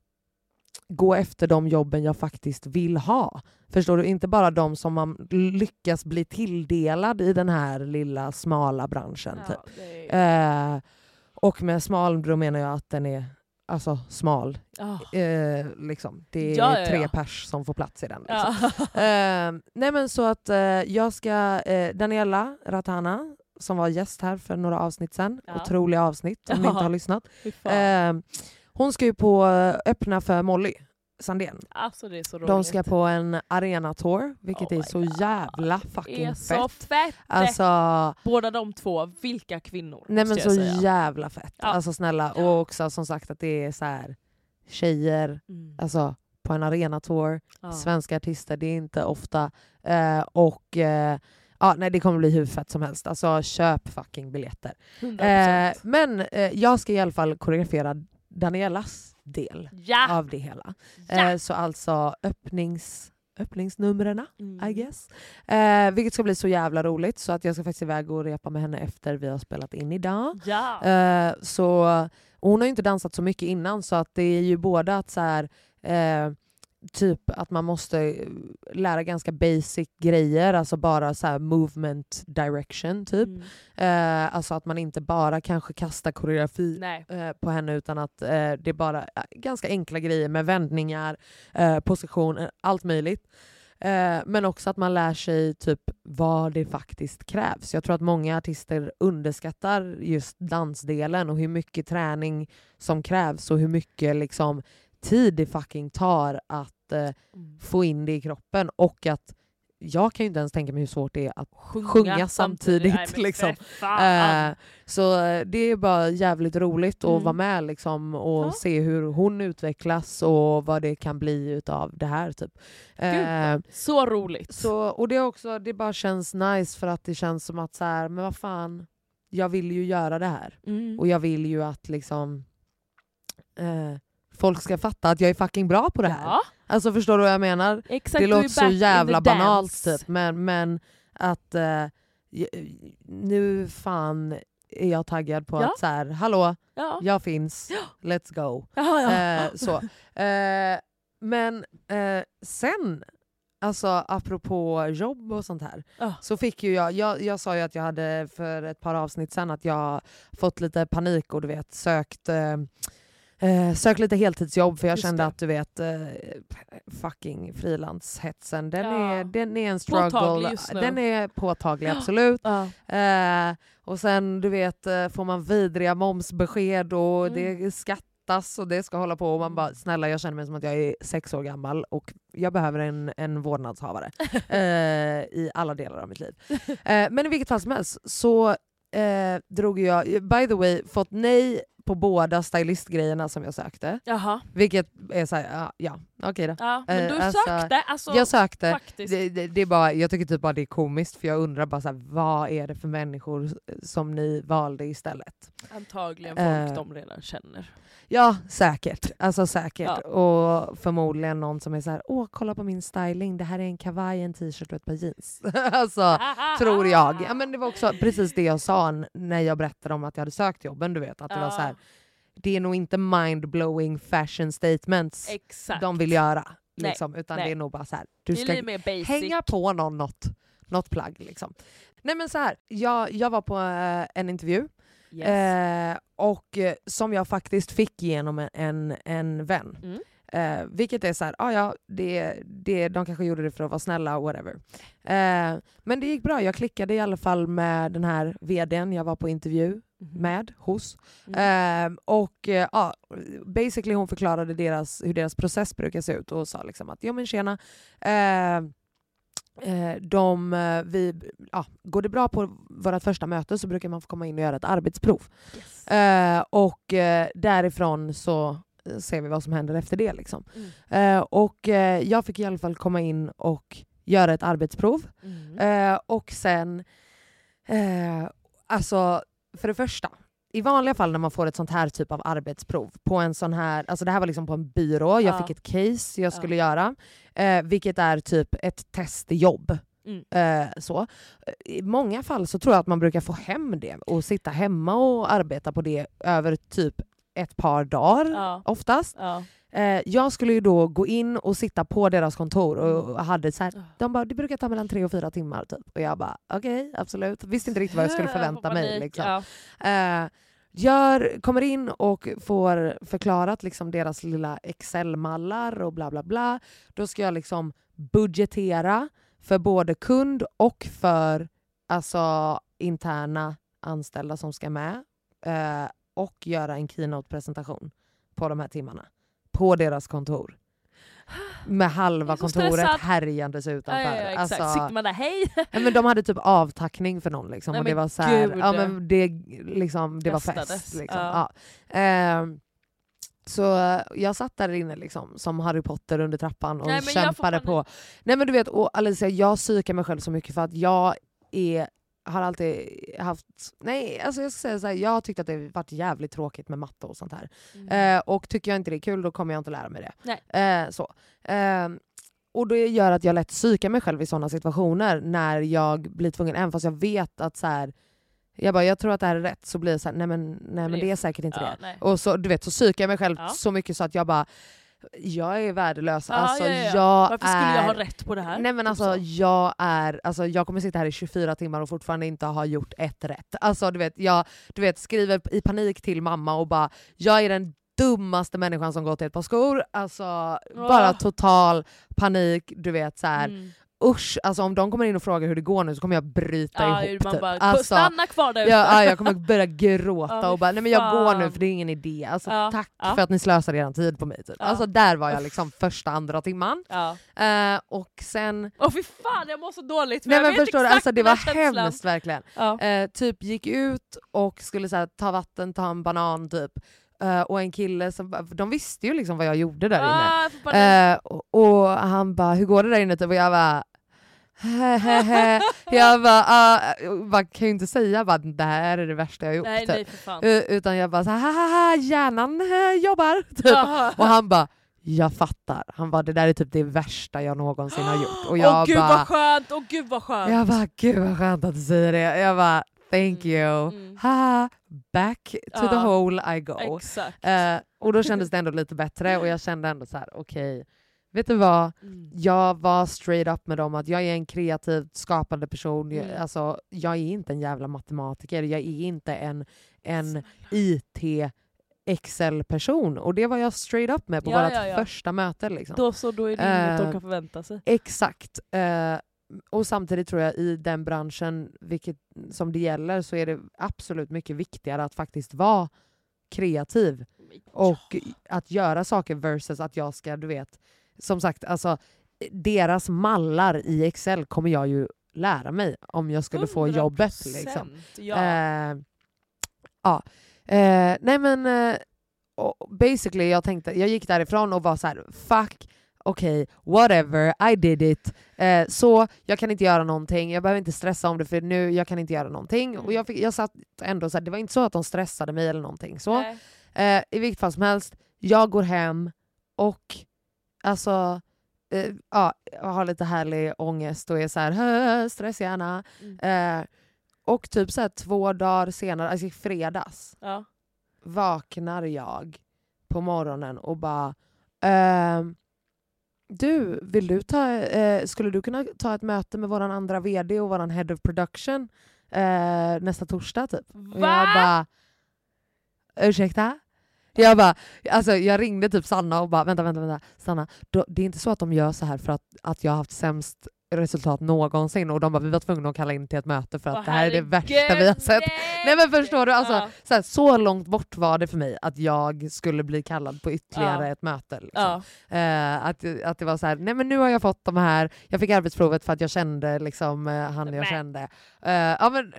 A: gå efter de jobben jag faktiskt vill ha. Förstår du? Inte bara de som man lyckas bli tilldelad i den här lilla smala branschen. Typ.
B: Ja, det är...
A: Eh, och med smal då menar jag att den är alltså, smal.
B: Ah.
A: Eh, liksom. Det är
B: Ja, ja, ja.
A: tre pers som får plats i den. Liksom.
B: Ja.
A: Eh, nej men så att eh, jag ska, eh, Daniela Ratana som var gäst här för några avsnitt sen.
B: Ja.
A: Otroliga avsnitt om ni inte
B: Ja.
A: har lyssnat.
B: Fy fan.
A: Eh, hon ska ju på eh, öppna för Molly Sandén.
B: alltså det är så roligt.
A: De ska på en arenatour, vilket
B: Oh
A: är
B: my
A: så
B: God.
A: jävla
B: Det är
A: fucking
B: så
A: fett.
B: fett!
A: Alltså,
B: Båda de två, vilka kvinnor
A: nej men
B: måste
A: så
B: jag säga.
A: jävla fett.
B: Ja.
A: Alltså snälla, och också som sagt att det är så här tjejer
B: Mm.
A: alltså, på en arenatour,
B: Ja.
A: svenska artister, det är inte ofta. Eh, och eh, ja, nej det kommer bli hur fett som helst. Alltså köp fucking biljetter.
B: 100%.
A: Eh, men eh, jag ska i alla fall koreografera Danielas del
B: ja!
A: av det hela.
B: Ah. ja.
A: Eh, så alltså öppnings, öppningsnumren
B: Mm.
A: I guess. Eh, vilket ska bli så jävla roligt så att jag ska faktiskt iväg och repa med henne efter vi har spelat in idag.
B: Ja.
A: Eh, så, och hon har ju inte dansat så mycket innan så att det är ju både att så här, eh, typ att man måste eh, lära ganska basic grejer, alltså bara så här movement direction typ.
B: Mm.
A: Eh, alltså att man inte bara kanske kastar koreografi
B: Nej.
A: eh, på henne utan att eh, det är bara eh, ganska enkla grejer med vändningar, eh, positioner, allt möjligt. Eh, men också att man lär sig typ vad det faktiskt krävs. Jag tror att många artister underskattar just dansdelen och hur mycket träning som krävs och hur mycket liksom, tid det fucking tar att eh,
B: Mm.
A: få in det i kroppen och att jag kan ju inte ens tänka mig hur svårt det är att sjunga samtidigt,
B: Nej, men
A: liksom.
B: för fan.
A: Eh, så eh, det är bara jävligt roligt att
B: ah. Mm.
A: vara med liksom, och
B: Ja.
A: se hur hon utvecklas och vad det kan bli utav det här. Typ. Eh,
B: så roligt.
A: så, och det, är också, det bara känns nice för att det känns som att så här, men vad fan, jag vill ju göra det här.
B: Mm.
A: Och jag vill ju att liksom, eh, folk ska fatta att jag är fucking bra på det här.
B: Ja,
A: Alltså förstår du vad jag menar?
B: exakt,
A: det
B: du är
A: låter så
B: back in
A: jävla
B: the dance.
A: banalt typ, men, men att eh, j- nu fan är jag taggad på
B: Ja.
A: att så här, hallå,
B: Ja.
A: jag finns, let's go.
B: Ja, ja.
A: Eh, så. Eh, men eh, sen, alltså apropå jobb och sånt här,
B: Ja.
A: så fick ju jag, jag, jag sa ju att jag hade för ett par avsnitt sen att jag fått lite panik och du vet sökt eh, Eh, sök lite heltidsjobb för jag
B: Just
A: kände
B: det.
A: att du vet eh, fucking frilanshetsen den,
B: Ja.
A: är, den är en struggle.
B: Påtaglig just nu.
A: Den är påtaglig absolut.
B: Ja.
A: Eh, och sen du vet eh, får man vidriga momsbesked och
B: Mm.
A: det skattas och det ska hålla på och man bara snälla jag känner mig som att jag är sex år gammal och jag behöver en, en vårdnadshavare eh, i alla delar av mitt liv. Eh, men i vilket fall som helst så eh, drog jag, by the way, fått nej på båda stylistgrejerna som jag sökte.
B: Jaha.
A: Vilket är såhär, ja, ja okej då.
B: Ja, men
A: Eh,
B: du
A: alltså,
B: sökte alltså
A: Jag sökte,
B: faktiskt.
A: det, det, det är bara, jag tycker typ bara det är komiskt för jag undrar bara så här, vad är det för människor som ni valde istället?
B: Antagligen folk
A: Eh.
B: de redan känner.
A: Ja säkert, alltså säkert.
B: Ja.
A: Och förmodligen någon som är så här, åh kolla på min styling, det här är en kavaj, en t-shirt och ett par jeans. alltså,
B: Ah,
A: tror jag. Ja, men det var också precis det jag sa n- när jag berättade om att jag hade sökt jobben, du vet. Att det var så här, det är nog inte mindblowing fashion statements
B: Exakt.
A: de vill göra.
B: Nej,
A: Liksom, utan
B: nej.
A: det är nog bara så här,
B: Det
A: du
B: är
A: ska
B: lite mer basic.
A: hänga på någon något, något plagg. Liksom. Nej men så här, jag, jag var på eh, en intervju
B: Yes.
A: eh, och eh, som jag faktiskt fick genom en, en, en vän.
B: Mm.
A: Eh, vilket är så här, ah, ja, det, det, de kanske gjorde det för att vara snälla, whatever. Eh, men det gick bra, jag klickade i alla fall med den här vdn jag var på intervju
B: Mhm.
A: med hos.
B: Mm.
A: Ehm, och eh, ja, basically hon förklarade deras, hur deras process brukar se ut och sa liksom att ja men tjena, ehm, eh, de, eh, vi, ja, går det bra på vårt första möte så brukar man få komma in och göra ett arbetsprov.
B: Yes.
A: Eh, och eh, därifrån så eh, ser vi vad som händer efter det. Liksom.
B: Mm.
A: Eh, och eh, jag fick i alla fall komma in och göra ett arbetsprov.
B: Mm.
A: Eh, och sen, eh, alltså för det första, i vanliga fall när man får ett sånt här typ av arbetsprov, på en sån här, alltså det här var liksom på en byrå, jag
B: Ja.
A: fick ett case jag
B: Ja.
A: skulle göra, eh, vilket är typ ett testjobb.
B: Mm.
A: Eh, så. I många fall så tror jag att man brukar få hem det och sitta hemma och arbeta på det över typ ett par dagar
B: Ja.
A: oftast.
B: Ja.
A: Eh, jag skulle ju då gå in och sitta på deras kontor och,
B: Mm.
A: och hade så här, de bara, det brukar ta mellan tre och fyra timmar typ. Och jag bara, okej, absolut. Visste inte riktigt vad jag skulle förvänta
B: Får
A: mig.
B: panik,
A: Liksom.
B: Ja.
A: Eh, gör, kommer in och får förklarat liksom deras lilla Excel-mallar och bla bla bla. Då ska jag liksom budgetera för både kund och för alltså, interna anställda som ska med eh, och göra en keynote-presentation på de här timmarna. På deras kontor. Med
B: Jag
A: halva
B: är så
A: kontoret
B: stressad.
A: härjandes
B: Ja,
A: utanför.
B: ja, ja, exakt.
A: Alltså,
B: Sitter man där, hej!
A: nej, men de hade typ avtackning för någon liksom,
B: Nej,
A: och det
B: men
A: var så här,
B: gud.
A: ja, men det, liksom, det var
B: Kastades.
A: fest. Liksom.
B: Ja.
A: Ja. Ehm, så eh, jag satt där inne liksom, som Harry Potter under trappan och
B: Nej, men jag får
A: kämpade på.
B: panik.
A: Nej men du vet, och Alicia jag psykar mig själv så mycket för att jag är, har alltid haft, nej alltså jag ska säga så här, jag har tyckt att det har varit jävligt tråkigt med matte och sånt här.
B: Mm.
A: Eh, och tycker jag inte det är kul då kommer jag inte lära mig det. Eh, så. Eh, och det gör att jag lätt psykar mig själv i sådana situationer när jag blir tvungen, även fast jag vet att så här, jag bara jag tror att det här är rätt, så blir det så här, nej men, nej, men det är säkert inte det.
B: ja, nej.
A: Och så, du vet, så psykar jag mig själv
B: Ja.
A: så mycket så att jag bara, jag är värdelös.
B: Ja,
A: alltså,
B: ja, ja.
A: Jag
B: Varför skulle
A: är...
B: jag ha rätt på det här?
A: eh, Nej men
B: Typ
A: alltså
B: så.
A: jag är, alltså jag kommer sitta här i 24 timmar och fortfarande inte ha gjort ett rätt. Alltså du vet, jag du vet, skriver i panik till mamma och bara jag är den dummaste människan som gått i ett par skor. Alltså bara total panik, du vet så här.
B: Mm.
A: usch, alltså om de kommer in och frågar hur det går nu så kommer jag bryta
B: Ja,
A: ihop.
B: man
A: typ.
B: bara,
A: alltså,
B: stanna kvar där
A: jag,
B: ute.
A: ja, jag kommer börja gråta
B: Ja,
A: och bara nej men jag går nu
B: fan.
A: för det är ingen idé. Alltså,
B: Ja,
A: tack
B: ja.
A: för att ni slösade er tid på mig. Typ.
B: Ja.
A: Alltså där var jag liksom första, andra timman.
B: Ja.
A: Eh, och sen
B: Åh fy fan jag mår så dåligt för
A: Nej
B: jag
A: men
B: vet
A: förstår du,
B: exakt
A: alltså, det
B: den här
A: var
B: känslan.
A: hemskt verkligen.
B: Ja.
A: Eh, typ gick ut och skulle så här, ta vatten, ta en banan typ. Eh, och en kille som, bara- de visste ju liksom vad jag gjorde där inne.
B: Ah, jag får panik.
A: Eh, och, och han bara, hur går det där inne? Typ, och jag bara, hehehe. jag bara, ah, jag bara, kan ju inte säga bara, det här är det värsta jag har gjort.
B: nej
A: typ.
B: nej för fan.
A: Eh, Utan jag bara, så här, "Ha, ha, ha, hjärnan eh, jobbar. Typ.
B: Jaha.
A: Och han bara, jag fattar. Han bara, det där är typ det värsta jag någonsin har gjort. Och jag
B: Åh gud
A: bara,
B: vad skönt, åh gud vad skönt.
A: jag bara, gud vad skönt att du säger det. Jag bara, thank you.
B: Mm.
A: Haha, back to the
B: Ja.
A: hole I go.
B: Exakt.
A: Eh, och då kändes det ändå lite bättre och jag kände ändå så här, okej, vet du vad?
B: Mm.
A: Jag var straight up med dem att jag är en kreativt skapande person. Jag,
B: Mm.
A: alltså, jag är inte en jävla matematiker, jag är inte en, en IT Excel-person. Och det var jag straight up med på
B: Ja,
A: vårt
B: ja, ja.
A: första möte. Liksom.
B: Då så, då är det inget
A: Eh,
B: de kan förvänta sig.
A: Exakt. Eh, och samtidigt tror jag i den branschen vilket, som det gäller så är det absolut mycket viktigare att faktiskt vara kreativ och att göra saker versus att jag ska, du vet, som sagt, alltså deras mallar i Excel kommer jag ju lära mig om jag skulle få jobbet. Liksom.
B: 100%, Ja.
A: Eh, ja. Eh, nej men eh, och basically jag tänkte, jag gick därifrån och var så här: fuck, okej, whatever, I did it. Eh, så jag kan inte göra någonting, jag behöver inte stressa om det för nu, jag kan inte göra någonting.
B: Mm.
A: Och jag, fick, jag satt ändå så här, det var inte så att de stressade mig eller någonting. Så.
B: Nej.
A: Eh, I vilket fall som helst, jag går hem och alltså, eh, ja, jag har lite härlig ångest och är så här, "Hö, stresshjärna. Eh, och typ så här två dagar senare, alltså i fredags,
B: Ja.
A: vaknar jag på morgonen och bara ehm, du, vill du ta, eh, skulle du kunna ta ett möte med vår andra vd och vår head of production eh, nästa torsdag typ? Och
B: Va?
A: jag bara, ursäkta? Jag bara, alltså jag ringde typ Sanna och bara vänta, vänta, vänta, Sanna, då, det är inte så att de gör så här för att, att jag har haft sämst resultat någonsin och de bara vi var tvungna att kalla in till ett möte för att
B: Åh,
A: det här är det värsta vi har
B: herregud,
A: sett. Nej men förstår du, alltså,
B: Ja.
A: så, här, så långt bort var det för mig att jag skulle bli kallad på ytterligare
B: Ja.
A: ett möte. Liksom.
B: Ja.
A: Eh, att, att det var så här, nej men nu har jag fått de här, jag fick arbetsprovet för att jag kände liksom, eh, han jag
B: Mä.
A: kände. Eh, ja, men,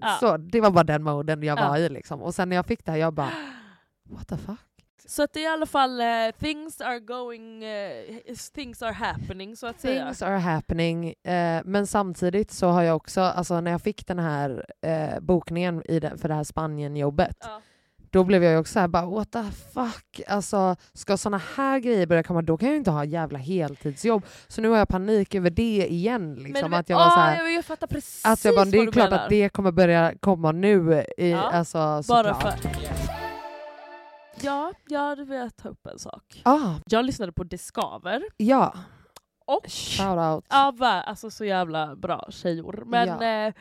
B: Ja.
A: så, det var bara den moden jag
B: Ja.
A: var i. Liksom. Och sen när jag fick det här, jag bara what the fuck?
B: Så att det är i alla fall eh, things are going, eh, things are happening så att säga.
A: Things are happening. Eh, men samtidigt så har jag också, alltså när jag fick den här eh, bokningen i den, för det här Spanien-jobbet,
B: Ja.
A: då blev jag ju också såhär bara what the fuck, alltså ska såna här grejer börja komma då kan jag ju inte ha jävla heltidsjobb. Så nu har jag panik över det igen. Liksom,
B: men-
A: att jag var
B: ah,
A: såhär,
B: jag, jag fattar precis
A: alltså, jag bara, det
B: vad
A: är
B: du
A: klart
B: menar.
A: att det kommer börja komma nu. I,
B: Ja,
A: alltså,
B: Bara
A: såklart.
B: för... Ja, jag hade velat ta upp en sak.
A: Ah,
B: Jag lyssnade på Discover
A: ja,
B: och...
A: shoutout.
B: Ja, va, alltså så jävla bra tjejor. Men eh,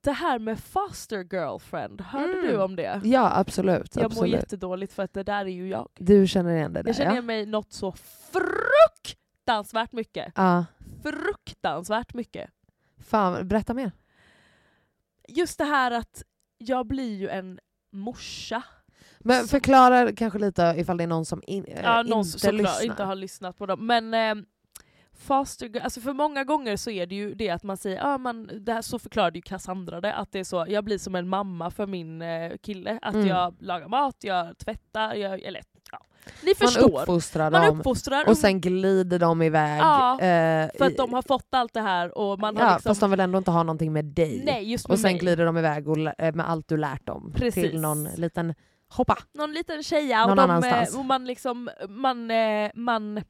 B: det här med foster girlfriend, hörde
A: Mm.
B: du om det?
A: Ja absolut.
B: Jag mår
A: absolut.
B: jättedåligt för att det där är ju jag.
A: Du känner igen det där
B: Jag känner
A: ja?
B: igen mig något så fruktansvärt mycket.
A: Ja.
B: Fruktansvärt mycket.
A: Fan, berätta mer.
B: just det här att jag blir ju en morsa.
A: Men förklara kanske lite ifall det är någon som in, eh,
B: Ja,
A: inte
B: någon som såklart
A: lyssnar.
B: inte har lyssnat på dem. Men eh, foster, gr- alltså för många gånger så är det ju det att man säger, ah, man, det här, så förklarade ju Cassandra det, att det är så, jag blir som en mamma för min eh, kille. Att
A: Mm.
B: jag lagar mat, jag tvättar, jag, eller ja. Ni
A: Man
B: förstår.
A: uppfostrar
B: Man
A: dem
B: uppfostrar
A: och sen glider de iväg.
B: Ja,
A: eh,
B: för
A: i-
B: att de har fått allt det här och man har
A: ja,
B: liksom...
A: Fast de vill ändå inte ha någonting med dig.
B: nej, just med
A: och sen
B: mig.
A: glider de iväg och, lä- eh, med allt du lärt dem
B: Precis.
A: till någon liten hoppa.
B: någon liten tjeja
A: Någon
B: och, de,
A: annanstans.
B: eh, och man, liksom, man, eh, man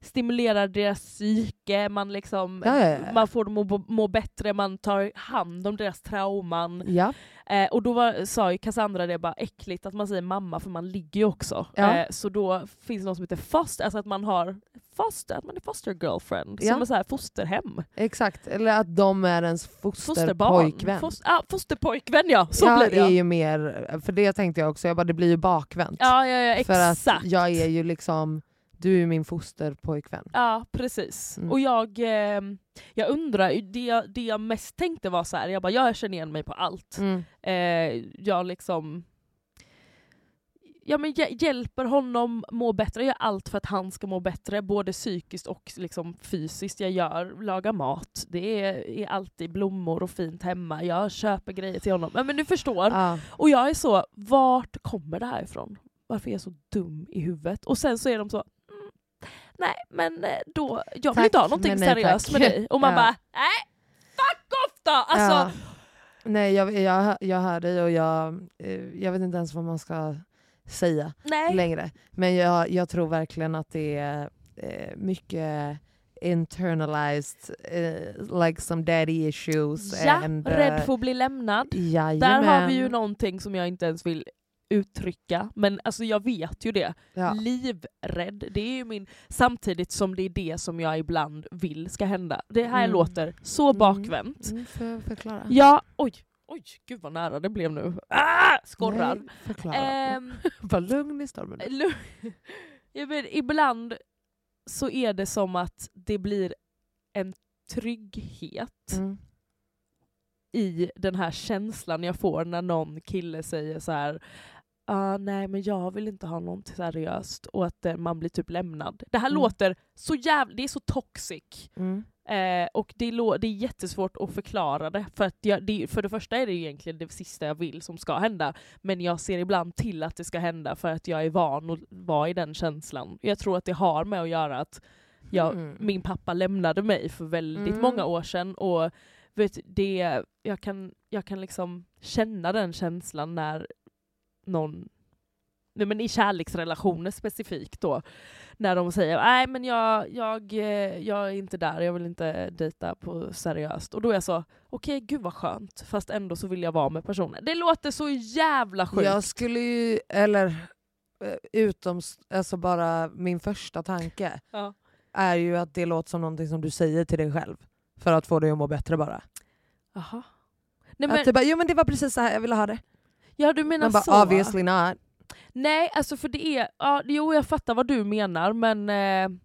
B: stimulerar deras psyke, man, liksom,
A: Ja, ja, ja.
B: man får dem att må- må bättre, man tar hand om deras trauman.
A: Ja.
B: Eh, och då var, sa ju Cassandra det bara äckligt att man säger mamma för man ligger ju också.
A: Ja.
B: Eh, så då finns det något som heter foster, alltså att man har foster, att man är foster girlfriend,
A: Ja.
B: som är så här fosterhem.
A: Exakt, eller att de är ens
B: Fosterbarn.
A: fosterpojkvän.
B: Fos- ah, fosterpojkvän ja, så blir det
A: är
B: ja.
A: ju mer, för det tänkte jag också, jag bara det blir ju bakvänt.
B: Ja, ja, ja
A: för
B: exakt.
A: att jag är ju liksom, du är min fosterpojkvän.
B: Ja, precis.
A: Mm.
B: Och jag, eh, jag undrar, det jag, det jag mest tänkte var så här, jag bara jag känner igen mig på allt.
A: Mm.
B: Eh, jag liksom ja, men hjä- hjälper honom må bättre, jag gör allt för att han ska må bättre, både psykiskt och liksom fysiskt. Jag gör, lagar mat, det är, är alltid blommor och fint hemma, jag köper grejer till honom. Ja, men du förstår.
A: Ja.
B: Och jag är så, vart kommer det här ifrån? Varför är jag så dum i huvudet? Och sen så är de så, mm, nej men eh, då, jag vill
A: Tack,
B: inte ha någonting
A: men nej,
B: seriöst
A: tack.
B: med dig. Och man
A: Ja.
B: bara, nej fuck off då! Alltså,
A: Ja. Nej jag, jag, jag hör dig och jag, eh, jag vet inte ens vad man ska säga.
B: nej.
A: längre. Men jag, jag tror verkligen att det är eh, mycket internalized, eh, like some daddy issues.
B: Ja,
A: and, eh,
B: rädd för att bli lämnad.
A: jajamän.
B: Där har vi ju någonting som jag inte ens vill uttrycka, men alltså jag vet ju det.
A: Ja.
B: Livrädd, det är ju min... Samtidigt som det är det som jag ibland vill ska hända. Det här
A: Mm.
B: låter så
A: Mm.
B: bakvänt.
A: Mm, får jag förklara?
B: Ja, oj, oj, gud vad nära det blev nu. Ah, skorrar.
A: Nej, förklara.
B: Ehm,
A: Var lugn i stormen.
B: lu- Ja, men ibland så är det som att det blir en trygghet
A: Mm.
B: i den här känslan jag får när någon kille säger så här "Ah, nej men jag vill inte ha något seriöst och att eh, man blir typ lämnad. Det här
A: Mm.
B: låter så jävla, det är så toxic.
A: Mm.
B: Eh, och det, lå- det är jättesvårt att förklara det. För, att jag, det. för det första är det ju egentligen det sista jag vill som ska hända. Men jag ser ibland till att det ska hända för att jag är van att vara i den känslan. Jag tror att det har med att göra att jag,
A: Mm.
B: min pappa lämnade mig för väldigt
A: Mm.
B: många år sedan. Och vet, det, jag, kan, jag kan liksom känna den känslan när någon Nej, men i kärleksrelationer specifikt då, när de säger nej men jag, jag, eh, jag är inte där, jag vill inte dejta på seriöst. Och då är jag så, okej gud vad skönt, fast ändå så vill jag vara med personen. Det låter så jävla sjukt.
A: Jag skulle ju, eller eh, utom, alltså bara min första tanke
B: Ja.
A: är ju att det låter som någonting som du säger till dig själv för att få dig att må bättre bara.
B: Jaha. Nej,
A: att
B: men, alltså-
A: du bara, jo men det var precis så här jag ville ha det.
B: ja du menar
A: typ Man bara
B: så?
A: obviously not.
B: Nej, alltså för det är... Ja, jo, jag fattar vad du menar, men eh,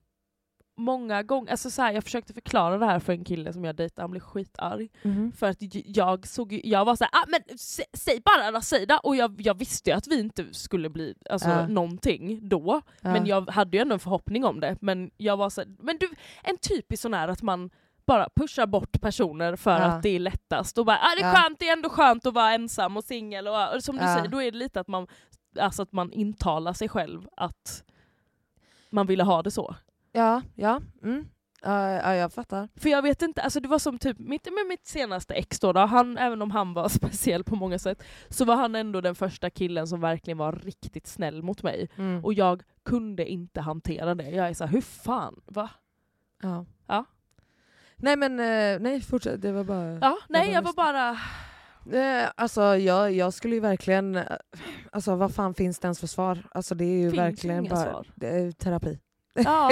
B: många gånger... Alltså så här, jag försökte förklara det här för en kille som jag dejtade, han blev skitarg. För att j- jag såg ju- Jag var så här, ah, men sä, säg bara då, säg då! Och jag, jag visste ju att vi inte skulle bli alltså,
A: Ja.
B: någonting då.
A: Ja.
B: Men jag hade ju ändå en förhoppning om det. Men jag var så här, men du, en typisk sån här att man bara pushar bort personer för
A: Ja.
B: att det är lättast. Och bara, ah, det är
A: Ja.
B: skönt, det är ändå skönt att vara ensam och singel. Och, och som du
A: Ja.
B: säger, då är det lite att man, alltså att man intalar sig själv att man ville ha det så.
A: Ja, ja. Mm. Ja, ja, jag fattar.
B: För jag vet inte, alltså det var som typ mitt, med mitt senaste ex då, då han, även om han var speciell på många sätt, så var han ändå den första killen som verkligen var riktigt snäll mot mig.
A: Och,
B: Och jag kunde inte hantera det. Jag är såhär, hur fan? Va?
A: ja.
B: Ja.
A: Nej men eh, nej, fortsätt. Det var bara...
B: Ja, nej
A: var
B: jag var
A: lyssn-
B: bara...
A: Eh, alltså jag, jag skulle ju verkligen... eh, Alltså vad fan finns det ens för svar? Alltså det är ju
B: Finns
A: verkligen
B: inga
A: bara...
B: svar.
A: Det är terapi.
B: Ja.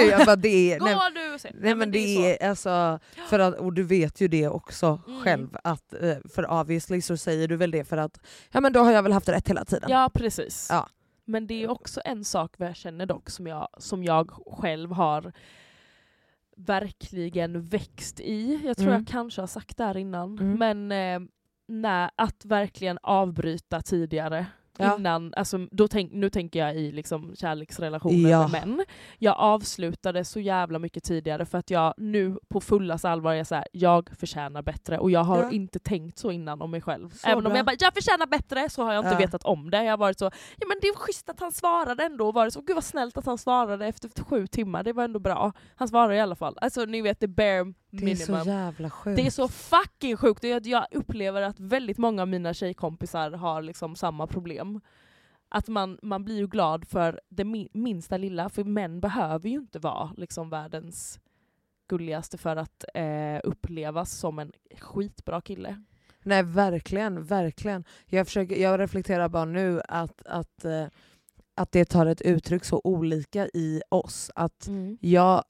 A: jag bara, det är,
B: Gå
A: nej,
B: du och se.
A: nej men det är alltså... För att, och du vet ju det också
B: Mm.
A: själv att eh, för obviously så säger du väl det för att ja men då har jag väl haft rätt hela tiden.
B: Ja precis.
A: Ja.
B: Men det är också en sak vad jag känner dock som jag, som jag själv har verkligen växt i. Jag tror
A: Mm.
B: jag kanske har sagt det här innan.
A: Mm.
B: Men eh, när, att verkligen avbryta tidigare.
A: Ja.
B: Innan, alltså, då tänk, nu tänker jag i liksom kärleksrelationer
A: Ja.
B: med män. Jag avslutade så jävla mycket tidigare för att jag nu på fullas allvar är så här, jag förtjänar bättre. Och jag har
A: Ja.
B: inte tänkt så innan om mig själv.
A: Så
B: Även om
A: bra.
B: jag bara, jag förtjänar bättre, så har jag inte
A: Ja.
B: vetat om det. Jag har varit så, ja men det är schysst att han svarade ändå. Och varit så, gud vad snällt att han svarade efter sju timmar, det var ändå bra. Han svarade i alla fall. Alltså ni vet, det bare
A: Det
B: minimum.
A: är så jävla sjukt.
B: Det är så fucking sjukt. Det är att Jag upplever att väldigt många av mina tjejkompisar har liksom samma problem. Att man, man blir ju glad för det mi- minsta lilla, för män behöver ju inte vara liksom världens gulligaste för att eh, upplevas som en skitbra kille.
A: Nej verkligen, verkligen. Jag, försöker, jag reflekterar bara nu att, att, eh, att det tar ett uttryck så olika i oss. Att
B: Mm.
A: jag,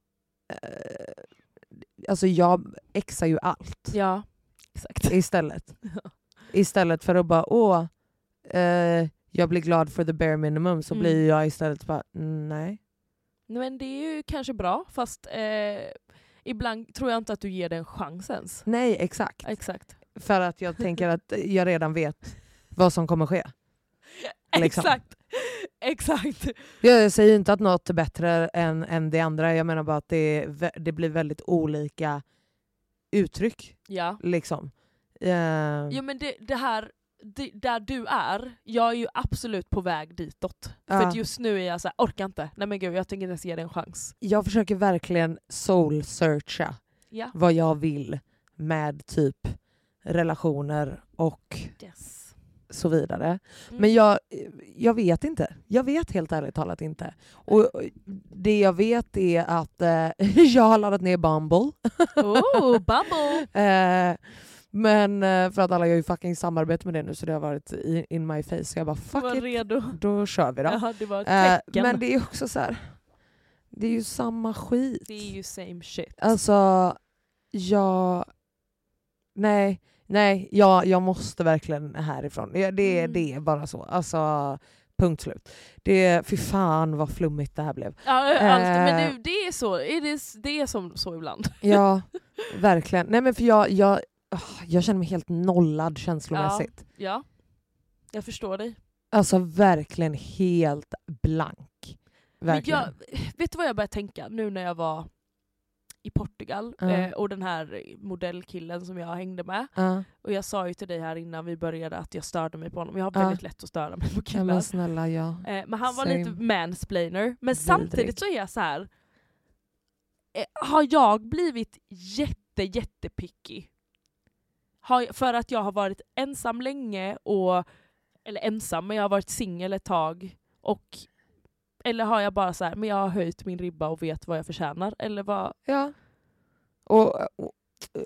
A: eh, alltså jag exar ju allt
B: Ja, exakt.
A: istället. Istället för att bara åh, eh, jag blir glad för the bare minimum så
B: Mm.
A: blir jag istället bara "Mm, nej.
B: Nej, Men det är ju kanske bra, fast eh, ibland tror jag inte att du ger den en chans ens.
A: Nej exakt.
B: Exakt.
A: För att jag tänker att jag redan vet vad som kommer ske. Liksom.
B: Exakt. Exakt.
A: Jag säger inte att något är bättre än, än det andra, jag menar bara att det, är vä- det blir väldigt olika uttryck.
B: Ja.
A: Liksom. Eh,
B: Jo men det, det här, det, där du är, jag är ju absolut på väg ditåt.
A: Ja.
B: För att just nu är jag såhär, orkar inte. Nej men gud, jag tänker inte ens ge det en chans.
A: Jag försöker verkligen soul-searcha
B: Ja.
A: vad jag vill med typ relationer och
B: Yes.
A: så vidare.
B: Mm.
A: Men jag, jag vet inte. Jag vet helt ärligt talat inte. Och och det jag vet är att eh, jag har laddat ner Bumble.
B: Oh, Bumble!
A: Eh, men eh, för att alla gör ju fucking samarbete med det nu så det har varit i- in my face. Så jag bara
B: Du
A: fuck
B: var
A: it,
B: redo.
A: då kör vi då.
B: Ja, det var
A: Eh,
B: ett tecken.
A: men det är också så här. det är ju samma skit.
B: Det är ju same shit.
A: Alltså, jag... Nej, nej jag, jag måste verkligen härifrån. Ja, Det,
B: Mm.
A: det är bara så. Alltså, punkt slut. Det, fy fan vad flummigt det här blev.
B: ja, allt, men
A: eh.
B: du, det är så. It is, det är som så ibland.
A: Ja, verkligen. Nej men för jag, jag, ah, jag känner mig helt nollad känslomässigt.
B: Ja. Jag förstår dig.
A: Alltså verkligen helt blank. Verkligen.
B: Men jag, vet du vad jag började tänka nu när jag var i Portugal
A: Ja.
B: eh, och den här modellkillen som jag hängde med.
A: Ja.
B: Och jag sa ju till dig här innan vi började att jag störde mig på honom. Jag har
A: Ja.
B: väldigt lätt att störa mig på
A: ja
B: killar.
A: men snälla ja.
B: Eh, men han var
A: same.
B: lite mansplainer. Men
A: Vidrig.
B: samtidigt så är jag så här. Eh, har jag blivit jätte jättepicky? Har jag- För att jag har varit ensam länge och... Eller ensam, men jag har varit singel ett tag. Och, eller har jag bara så här, men jag har höjt min ribba och vet vad jag förtjänar? Eller vad,
A: Ja. Och, och,